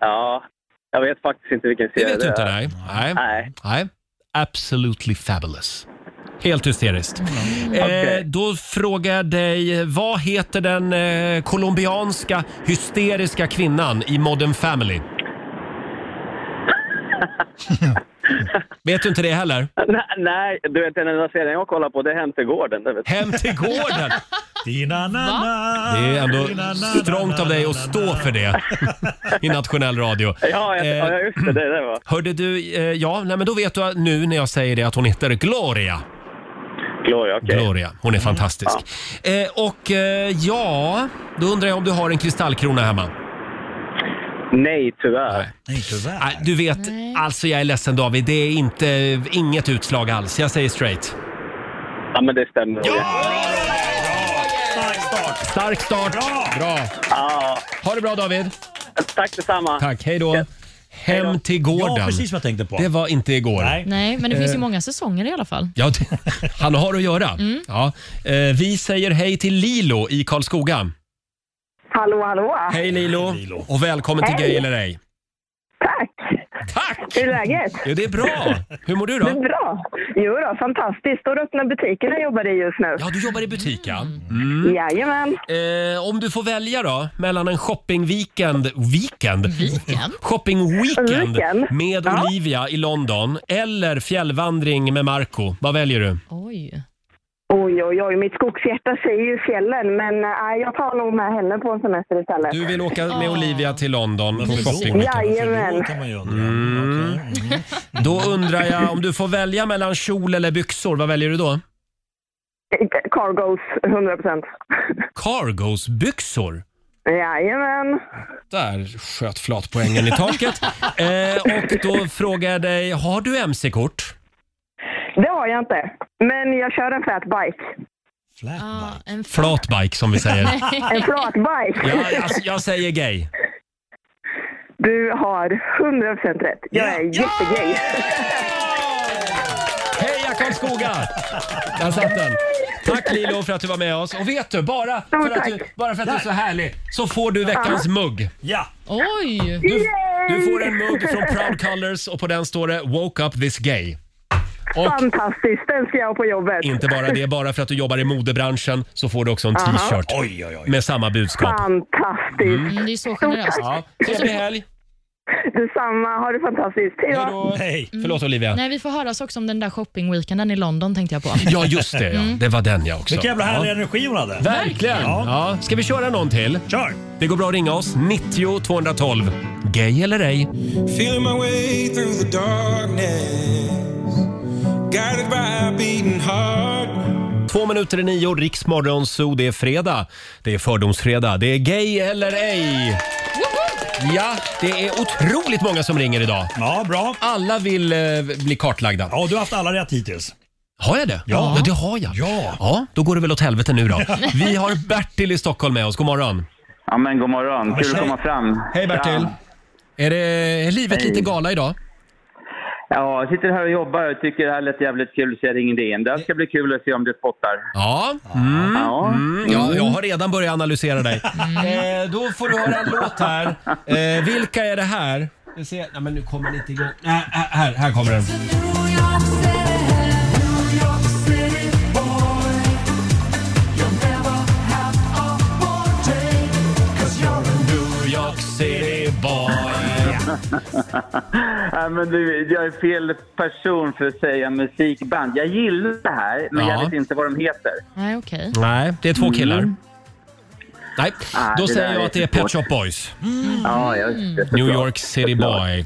Ja, jag vet faktiskt inte vilken
Det
serie
vet du inte,
är.
nej. Nej. nej. Absolutely fabulous. Helt hysteriskt. Eh, då frågar jag dig, vad heter den eh, colombianska hysteriska kvinnan i Modern Family? vet du inte det heller?
Nej, nej, du vet den enda serien jag kollar på det är Hem till gården. Det vet du.
Hem till gården?
Dina-na-na.
Det är ändå strångt av dig att stå för det i nationell radio.
Ja, jag, ja, just det. Det, det var.
Hörde du, eh, ja, nej, men då vet du nu när jag säger det att hon heter Gloria.
Gloria, okej.
Gloria, hon är fantastisk. Eh, och eh, ja, då undrar jag om du har en kristallkrona hemma?
Nej, tyvärr.
Nej, tyvärr.
Nej, du vet, alltså jag är ledsen David, det är inte, inget utslag alls. Jag säger straight.
Ja, men det stämmer. Ja!
Stark start. Bra!
Ja.
Ha det bra David.
Tack detsamma.
Tack, hej då. Hem till gården.
Ja, precis vad jag tänkte på.
Det var inte igår.
Nej, men det finns ju
Eh.
många säsonger i alla fall.
Ja, det, han har att göra.
Mm.
Ja. Eh, vi säger hej till Lilo i Karlskoga.
Hallå, hallå.
Hej Lilo. Och välkommen till
Hej.
Gay eller ej.
Hur är läget?
Jo, det är bra. Hur mår du då?
Det är bra. Jo då, fantastiskt. Står och öppnar butiken jag jobbar i just nu.
Ja, du jobbar i butik ja.
Mm. Jajamän.
Eh, om du får välja då, mellan en shoppingweekend... Weekend?
Weekend?
Shoppingweekend
Weekend.
med
Ja.
Olivia i London eller fjällvandring med Marco. Vad väljer du?
Oj.
Oj, oj, oj. Mitt skogshjärta säger ju fjällen, men eh, nej, jag tar nog med henne på en semester istället.
Du vill åka med Olivia till London på shoppingweekend.
Jajamän.
Mm. Då undrar jag, om du får välja mellan kjol eller byxor, vad väljer du då?
Cargos, 100 procent.
Cargos-byxor?
Jajamän.
Där sköt flatpoängen i taket. Eh, och då frågar jag dig, har du mc-kort?
Det har jag inte. Men jag kör en flatbike.
Ah,
en
Flatbike som vi säger.
en flatbike.
Ja, jag, jag säger gay.
Du har 100 procent rätt. Jag är jättegay.
Heja Karlskoga! Där satt den. Tack Lilo för att du var med oss. Och vet du, bara för att du, bara för att du är så härlig så får du veckans mugg.
Ja.
Oj!
Du, du får en mugg från Proud Colors och på den står det “Woke up this gay”. Och
Fantastiskt, den ska jag ha på jobbet.
inte bara det, bara för att du jobbar i modebranschen så får du också en
Aha.
t-shirt
Oj, oj, oj.
med samma budskap.
Fantastiskt.
Mm, det är så generöst.
Ja. Trevlig helg!
Detsamma, ha det fantastiskt. Hej då!
Hej! Förlåt Olivia.
Nej, vi får höras också om den där shoppingweekenden i London tänkte jag på.
Ja, just det. Ja.
Mm.
Det var den ja också.
Vilken jävla härlig
ja.
energi hon hade.
Verkligen! Ja. Ska vi köra någon till?
Kör!
Det går bra att ringa oss. 90 212. Gay eller ej?
Feeling my way through the darkness. Guided by a beating heart.
Två minuter i nio, Riksmorgon Zoo. Det är fredag. Det är fördomsfredag. Det är gay eller ej. Ja, det är otroligt många som ringer idag.
Ja, bra.
Alla vill eh, bli kartlagda.
Ja, du har haft alla rätt hittills.
Har jag det?
Ja.
det har jag. Ja. ja. Då går det väl åt helvete nu då. Vi har Bertil i Stockholm med oss. God morgon.
Ja, men god morgon. Kul att komma fram.
Hej Bertil. Är, det, är livet
Hej.
lite gala idag?
Ja, jag sitter här och jobbar och tycker det här lät jävligt kul så jag ringde in. Det här ska bli kul att se om du spottar.
Ja. Mm.
Ja.
Mm. ja. Jag har redan börjat analysera dig. Eh, då får du höra en låt här. Eh, vilka är det här? Vi ser. Nej, men nu kommer den inte igång. Nej, här, här, här kommer den. New York City boy.
Nej, men du, jag är fel person för att säga musikband. Jag gillar det här, men
Ja.
jag vet inte vad de heter.
Nej, okej.
Nej, det är två killar.
Mm.
Nej,
Ah,
då
det
säger
där
jag
är
att det är
för
Pet
svårt. Mm.
Shop Boys.
Ja, just det.
New
såklart.
York City boy.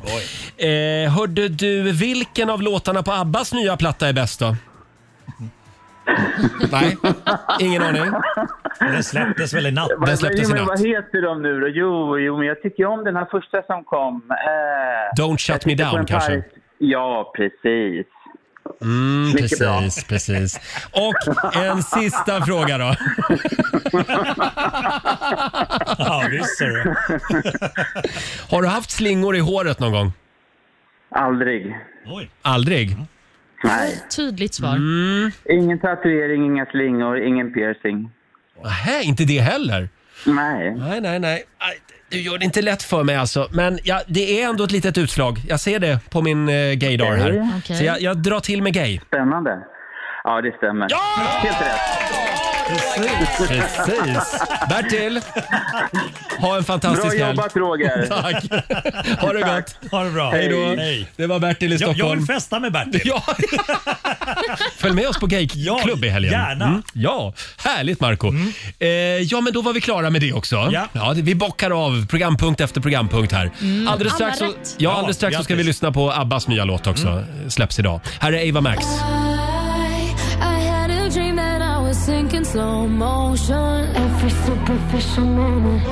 Eh, hörde du, vilken av låtarna på Abbas nya platta är bäst då? Nej, ingen aning.
Den släpptes väl i natt?
Vad-
Den släpptes i
men
natt.
Vad heter de nu då? Jo, jo, men jag tycker om den här första som kom. Eh,
Don't shut me
jag tittar på
down
en
kanske.
park- Ja, precis.
Mm,
Mycket
precis,
bra.
precis. Och en sista fråga då.
Ja, visst ser du.
Har du haft slingor i håret någon gång?
Aldrig.
Aldrig?
Mm. Nej.
Tydligt svar.
Mm.
Ingen tatuering, inga slingor, ingen piercing.
Nej, inte det heller?
Nej.
Nej, nej, nej. Aj, Du gör det inte lätt för mig alltså. Men ja, det är ändå ett litet utslag. Jag ser det på min eh, gaydar här.
Okej.
Så jag, jag drar till med gay.
Spännande. Ja, det stämmer. Ja! Helt rätt.
Precis. Precis. Bertil, ha en fantastisk
Bra
helg.
jobbat, Roger.
Tack. Ha det gott.
Ha det bra.
Hej då.
Hej.
Det var Bertil i
Jag, jag
Stockholm.
vill festa med Bertil.
Ja. Följ med oss på gayklubb i helgen. Mm.
gärna.
Ja, härligt Marco Eh, ja, men då var vi klara med det också.
Ja.
det- vi bockar av programpunkt efter programpunkt här.
Mm,
Alldeles
alla
strax, så,
rätt.
ja, alldeles strax så ska vi lyssna på Abbas nya låt också. Släpps idag. Här är Ava Max.
I had a dream that I was sinking slow motion. Every superficial moment.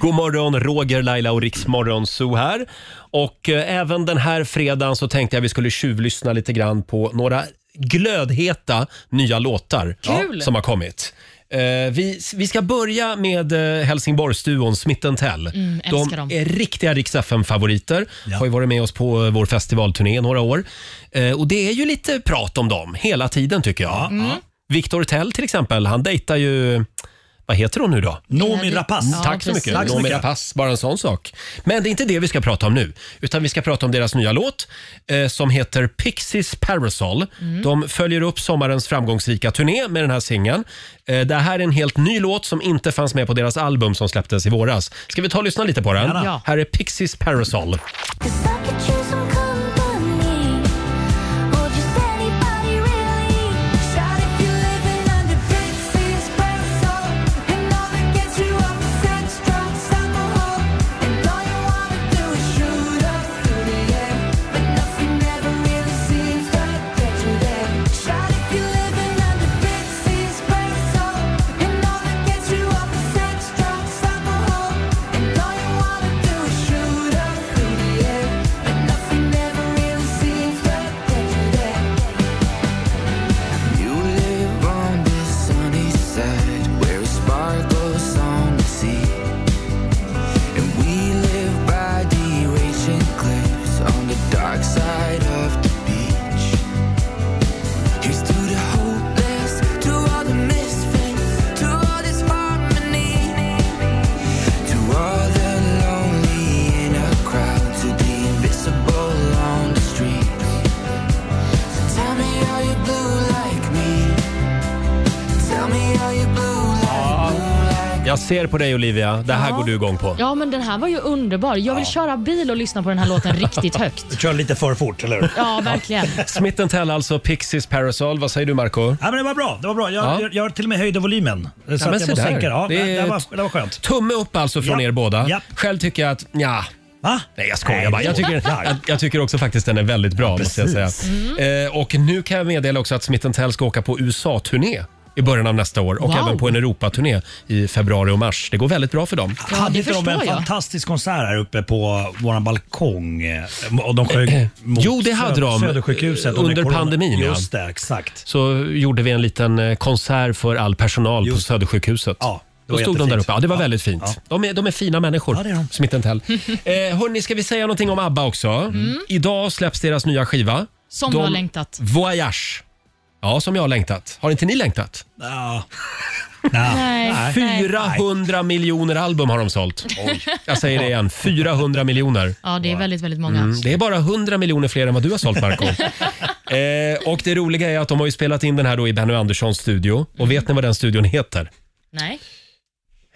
God morgon, Roger, Laila och Riksmorgon Zoo här. Och eh, även den här fredagen så tänkte jag vi skulle tjuvlyssna lite grann på några glödheta nya låtar
Kul!
som har kommit. Eh, vi, vi ska börja med eh, Helsingborgsduon Smith Tell.
Mm,
De
älskar dem.
är riktiga Rix favoriter Har ju varit med oss på eh, vår festivalturné i några år. Eh, och det är ju lite prat om dem hela tiden tycker jag.
Mm.
Victor Tell till exempel, han dejtar ju... Vad heter hon nu då?
Noomi Rapace. Ja,
Tack så
precis.
mycket.
Tack så
Noomi
mycket.
Rapace, bara en sån sak. Men det är inte det vi ska prata om nu, utan vi ska prata om deras nya låt eh, som heter Pixies Parasol.
Mm.
De följer upp sommarens framgångsrika turné med den här singeln. Eh, det här är en helt ny låt som inte fanns med på deras album som släpptes i våras. Ska vi ta och lyssna lite på den?
Gärna. Ja.
Här är Pixies Parasol.
Shot if you're living under Betsy's
Jag ser på dig Olivia, det här
Ja.
går du igång på.
Ja, men den här var ju underbar. Jag vill köra bil och lyssna på den här låten riktigt högt.
Du kör lite för fort, eller hur?
Ja, verkligen.
Smith Tell alltså, Pixies Parasol. Vad säger du Marco?
Ja, men det var bra. Det var bra. Jag,
Ja.
jag, jag till och med höjde volymen. Så
Ja,
att
men
jag
se
måste
där.
sänka den. ja,
Det
det,
är-
det, var, det var skönt.
Tumme upp alltså från
Ja.
er båda.
Ja.
Själv tycker jag att ja. Nej jag skojar
Nej,
bara. Jag
det är
tycker,
klart.
jag, jag tycker också faktiskt den är väldigt bra måste jag säga.
precis. Mm.
Eh, och nu kan jag meddela också att Smith Tell ska åka på USA-turné i början av nästa år och
Wow.
även på en Europaturné i februari och mars. Det går väldigt bra för dem.
hade inte de en fantastisk konsert här uppe på vår balkong? eh, Och de sjöng mot
Jo, det hade
Söder-
de.
Södersjukhuset. om det är
under
corona.
pandemin. ja.
Just det, exakt.
Så gjorde vi en liten eh, konsert för all personal på Södersjukhuset. Ja,
det
Då
var
stod de
jättefint.
där uppe. Ja, det var väldigt fint.
Ja.
De, är, de är fina människor,
Ja, det är de.
Smith Tell. eh, hörni, ska vi säga någonting om ABBA också?
Mm.
Idag släpps deras nya skiva.
Som du har längtat.
Voyage. Ja, som jag har längtat. Har inte ni längtat?
Ja.
Nej.
400 miljoner album har de sålt.
Oj.
Jag säger det igen, 400 miljoner.
Ja, det är väldigt, väldigt många.
Mm, det är bara 100 miljoner fler än vad du har sålt, Marco. eh, och det roliga är att de har ju spelat in den här då i Benny Anderssons studio. Och vet ni vad den studion heter?
Nej.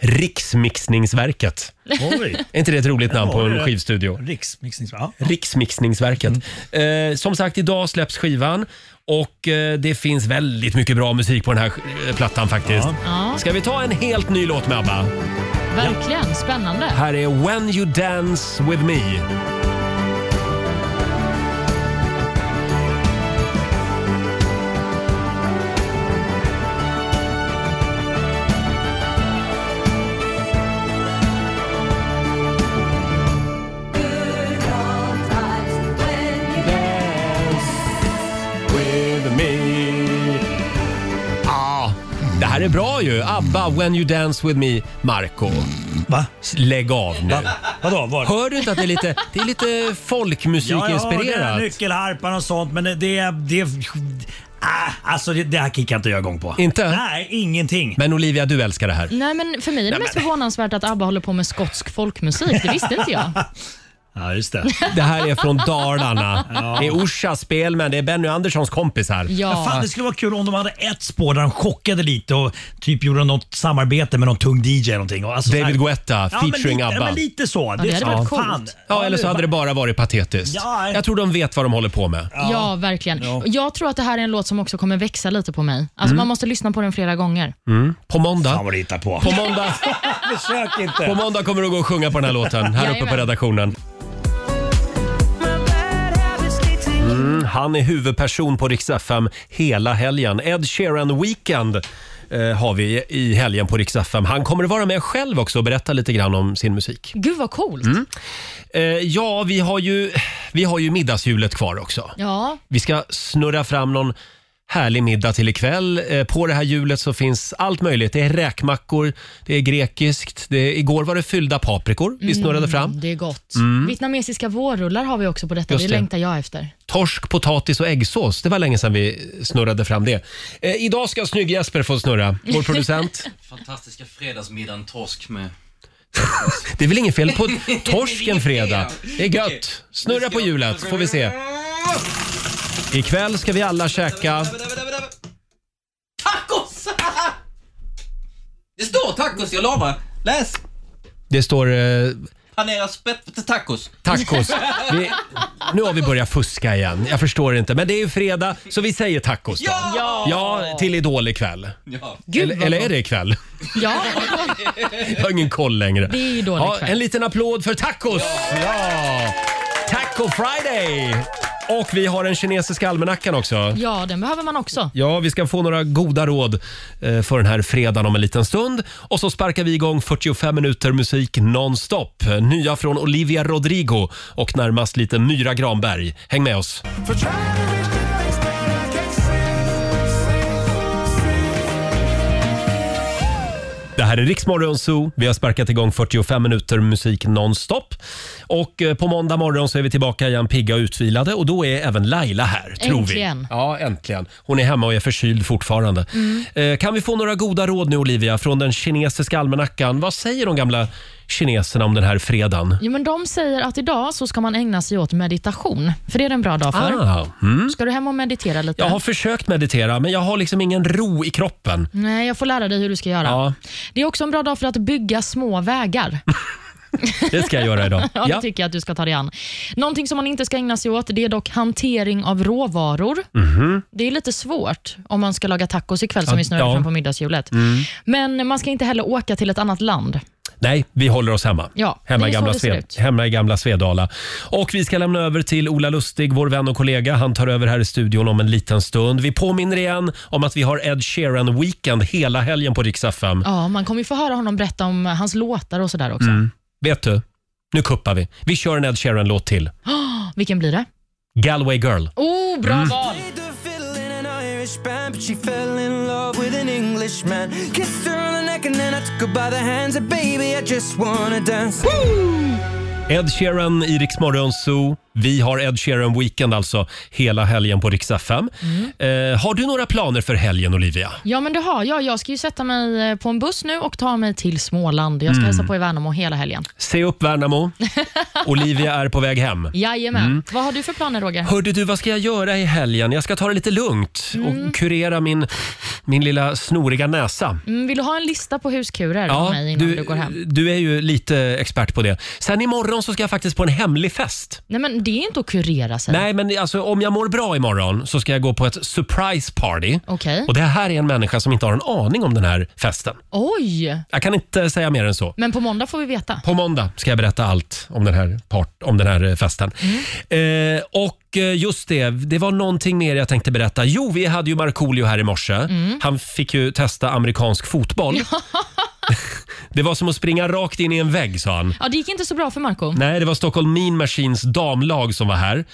Riksmixningsverket.
Oj.
Är inte det ett roligt namn på
Ja,
en
det-
skivstudio?
Riksmixnings... Ja.
Riksmixningsverket.
Mm.
Eh, som sagt, idag släpps skivan och eh, det finns väldigt mycket bra musik på den här sk- eh, plattan faktiskt.
Ja.
Ska vi ta en helt ny låt med ABBA?
Verkligen. Spännande.
Här är When You Dance With Me. With me. Ah, det här är bra ju. ABBA, When You Dance With Me, Marco.
Va?
Lägg av nu.
Va? Vadå? Var?
Hör du inte att det är lite, det är lite
Ja, ja, det är
folkmusikinspirerat?
nyckelharpan och sånt, men det... det, det ah, alltså, det, det här kickar inte jag igång på.
Inte?
Nej, ingenting.
Men Olivia, du älskar det här.
Nej, men för mig är det
Nej,
mest
men-
förvånansvärt att ABBA håller på med skotsk folkmusik. Det visste inte jag.
Ja, just det.
Det här är från Dalarna.
Ja.
Det är Orsas spel, men det är Benny Anderssons kompis här.
Ja. Fan, det skulle vara kul om de hade ett spår där de chockade lite och typ gjorde något samarbete med någon tung DJ eller någonting. Och Alltså,
David
så här-
Guetta
ja,
featuring
men lite,
ABBA.
Men lite så. fan.
Ja, eller så hade det bara varit patetiskt.
Ja.
Jag tror de vet vad de håller på med.
Ja, verkligen. Jag tror att det här är en låt som också kommer växa lite på mig. Alltså,
Mm.
Man måste lyssna på den flera gånger.
Mm. På måndag... Fan
vad du hittar på.
På måndag,
Försök inte.
på måndag kommer du gå och sjunga på den här låten här uppe på
Jajamän.
redaktionen. Mm, han är huvudperson på Rix FM hela helgen. Ed Sheeran Weekend eh, har vi i helgen på Rix FM. Han kommer att vara med själv också och berätta lite grann om sin musik.
Gud vad coolt.
Mm. Eh, ja, vi har, ju, vi har ju middagshjulet kvar också.
Ja,
Vi ska snurra fram någon härlig middag till ikväll. Eh, På det här hjulet så finns allt möjligt. Det är räkmackor, det är grekiskt. Det är, igår var det fyllda paprikor vi
Mm,
snurrade fram.
det är gott.
Mm.
Vietnamesiska vårrullar har vi också på detta.
Just
Det,
det.
längtar jag efter.
Torsk, potatis och äggsås. Det var länge sedan vi snurrade fram det. Eh, idag ska Snygg-Jesper få snurra, vår producent.
Fantastiska fredagsmiddagen torsk med...
Det är väl inget fel på torsken fredag? Det är gött. Snurra på hjulet, får vi se. Ikväll ska vi alla käka...
Tacos! Det står tacos, jag lovar. Läs!
Det står... Eh,
Panera spett tacos.
Tacos. Vi, nu har vi börjat fuska igen. Jag förstår inte. Men det är ju fredag, så vi säger tacos då.
Ja!
Ja, till Idol ikväll.
Ja.
eller, eller är det ikväll?
Ja.
Jag har ingen koll längre.
Det är Idol
ja,
ikväll.
En liten applåd för tacos! Ja! Taco Friday! Och vi har den kinesiska almanackan också.
Ja, den behöver man också.
Ja, vi ska få några goda råd eh, för den här fredagen om en liten stund. Och så sparkar vi igång 45 minuter musik nonstop. Nya från Olivia Rodrigo och närmast lite Myra Granberg. Häng med oss. Det här är Riksmorgon Zoo. Vi har sparkat igång 45 minuter musik nonstop. Och eh, på måndag morgon så är vi tillbaka igen pigga och utvilade och då är även Laila här, tror
Äntligen.
vi. Ja, äntligen. Hon är hemma och är förkyld fortfarande.
Mm.
Eh, Kan vi få några goda råd nu Olivia från den kinesiska almanackan? Vad säger de gamla kineserna om den här fredagen?
Jo, men de säger att idag så ska man ägna sig åt meditation, för det är det en bra dag för.
Ah, mm.
Ska du hem och meditera lite?
Jag har försökt meditera men jag har liksom ingen ro i kroppen.
Nej, jag får lära dig hur du ska göra.
Ja.
Det är också en bra dag för att bygga små vägar.
Det ska jag göra idag.
ja, det tycker jag att du ska ta dig an. Någonting som man inte ska ägna sig åt det är dock hantering av råvaror.
Mhm.
Det är lite svårt om man ska laga tacos ikväll som
Ja,
vi snurrar
ja.
fram på middagshjulet.
Mm.
Men man ska inte heller åka till ett annat land.
Nej, vi håller oss hemma.
Ja,
Hemma
det
i,
är
gamla
så det ser
Sved,
ut.
hemma i gamla Svedala. Och vi ska lämna över till Ola Lustig, vår vän och kollega. Han tar över här i studion om en liten stund. Vi påminner igen om att vi har Ed Sheeran-weekend hela helgen på Rix FM.
Ja, man kommer ju få höra honom berätta om hans låtar och sådär också.
Mm. Vet du, nu kuppar vi. Vi kör en Ed Sheeran-låt till.
Ah, vilken blir det?
Galway Girl.
Oh, bra
Mm.
val!
Irish band, but she fell in love with an Englishman. Kissed her on the neck and then I took her by the hands. And baby, I just wanna dance.
Ed Sheeran i Rix Morgon Zoo. Vi har Ed Sheeran Weekend alltså hela helgen på Rix FM. Eh, har du några planer för helgen Olivia?
Ja, men det har jag. Jag ska ju sätta mig eh, på en buss nu och ta mig till Småland. Jag ska
Mm.
hälsa på i Värnamo hela helgen.
Se upp Värnamo. Olivia är på väg hem.
Jajamän.
Mm.
Vad har du för planer, Roger?
Hörde du, vad ska jag göra i helgen? Jag ska ta det lite lugnt och kurera min, min lilla snoriga näsa.
Mm, vill du ha en lista på huskurer av mig innan du, går hem?
du är ju lite expert på det. Sen imorgon så ska jag faktiskt på en hemlig fest.
Nej, men det är inte att kurera sig.
Nej, men alltså, om jag mår bra imorgon så ska jag gå på ett surprise party.
Okej.
Och det här är en människa som inte har en aning om den här festen.
Oj!
Jag kan inte säga mer än så.
Men på måndag får vi veta.
På måndag ska jag berätta allt om den här, part, om den här eh, festen. Eh, och eh, just det, det var någonting mer jag tänkte berätta. Jo, vi hade ju Markoolio här i morse.
Mm.
Han fick ju testa amerikansk fotboll. det var som att springa rakt in i en vägg, sa han.
Ja, det gick inte så bra för Marco.
Nej, det var Stockholm Mean Machines damlag som var här.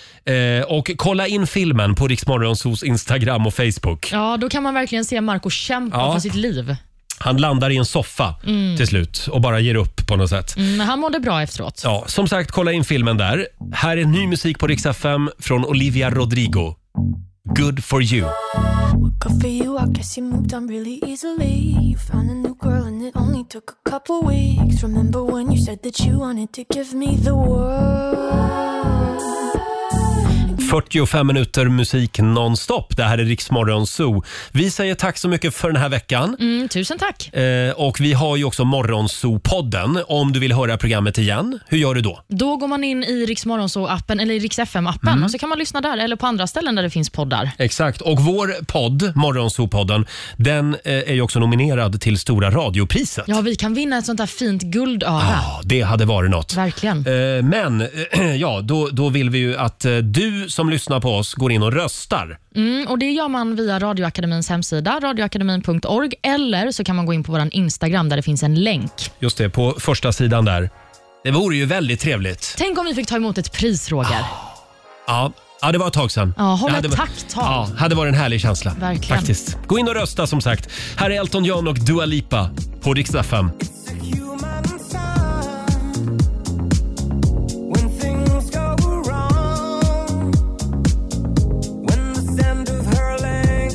Eh, och kolla in filmen på Riksmorgonsos Instagram och Facebook.
Ja, då kan man verkligen se Marco kämpa
Ja.
för sitt liv.
Han landar i en soffa
Mm.
till slut och bara ger upp på något sätt.
Mm, men han mådde bra efteråt.
Ja, som sagt, kolla in filmen där. Här är ny musik på Rix FM från Olivia Rodrigo. Good for you.
Good for you, I guess you moved on really easily. You found a new girl and it only took a couple weeks. Remember when you said that you wanted to give me the world?
45 minuter musik nonstop. Det här är Rix Morgon Zoo. Vi säger tack så mycket för den här veckan.
Mm, tusen tack.
Eh, och vi har ju också Morgonzoo-podden. Om du vill höra programmet igen, hur gör du då?
Då går man in i Rix appen eller i Rix FM-appen
Mm.
och så kan man lyssna där eller på andra ställen där det finns poddar.
Exakt. Och vår podd, Morgonzoo-podden, den eh, är ju också nominerad till Stora radiopriset.
Ja, vi kan vinna ett sånt där fint guldöra.
Ja, det hade varit något.
Verkligen.
Eh, Men ja, då, då vill vi ju att eh, du som lyssnar på oss går in och röstar.
Mm, och Det gör man via Radioakademins hemsida, radioakademin.org, eller så kan man gå in på vår Instagram där det finns en länk.
Just det, på första sidan där. Det vore ju väldigt trevligt.
Tänk om vi fick ta emot ett pris, Roger.
Ja, ja det var ett tag sedan.
Ja, håll
Det
ett
va-
takttal.
Ja, hade varit en härlig känsla.
Verkligen.
Faktiskt. Gå in och rösta som sagt. Här är Elton John och Dua Lipa på Rix FM.
When things go wrong, when the sound of her lingers.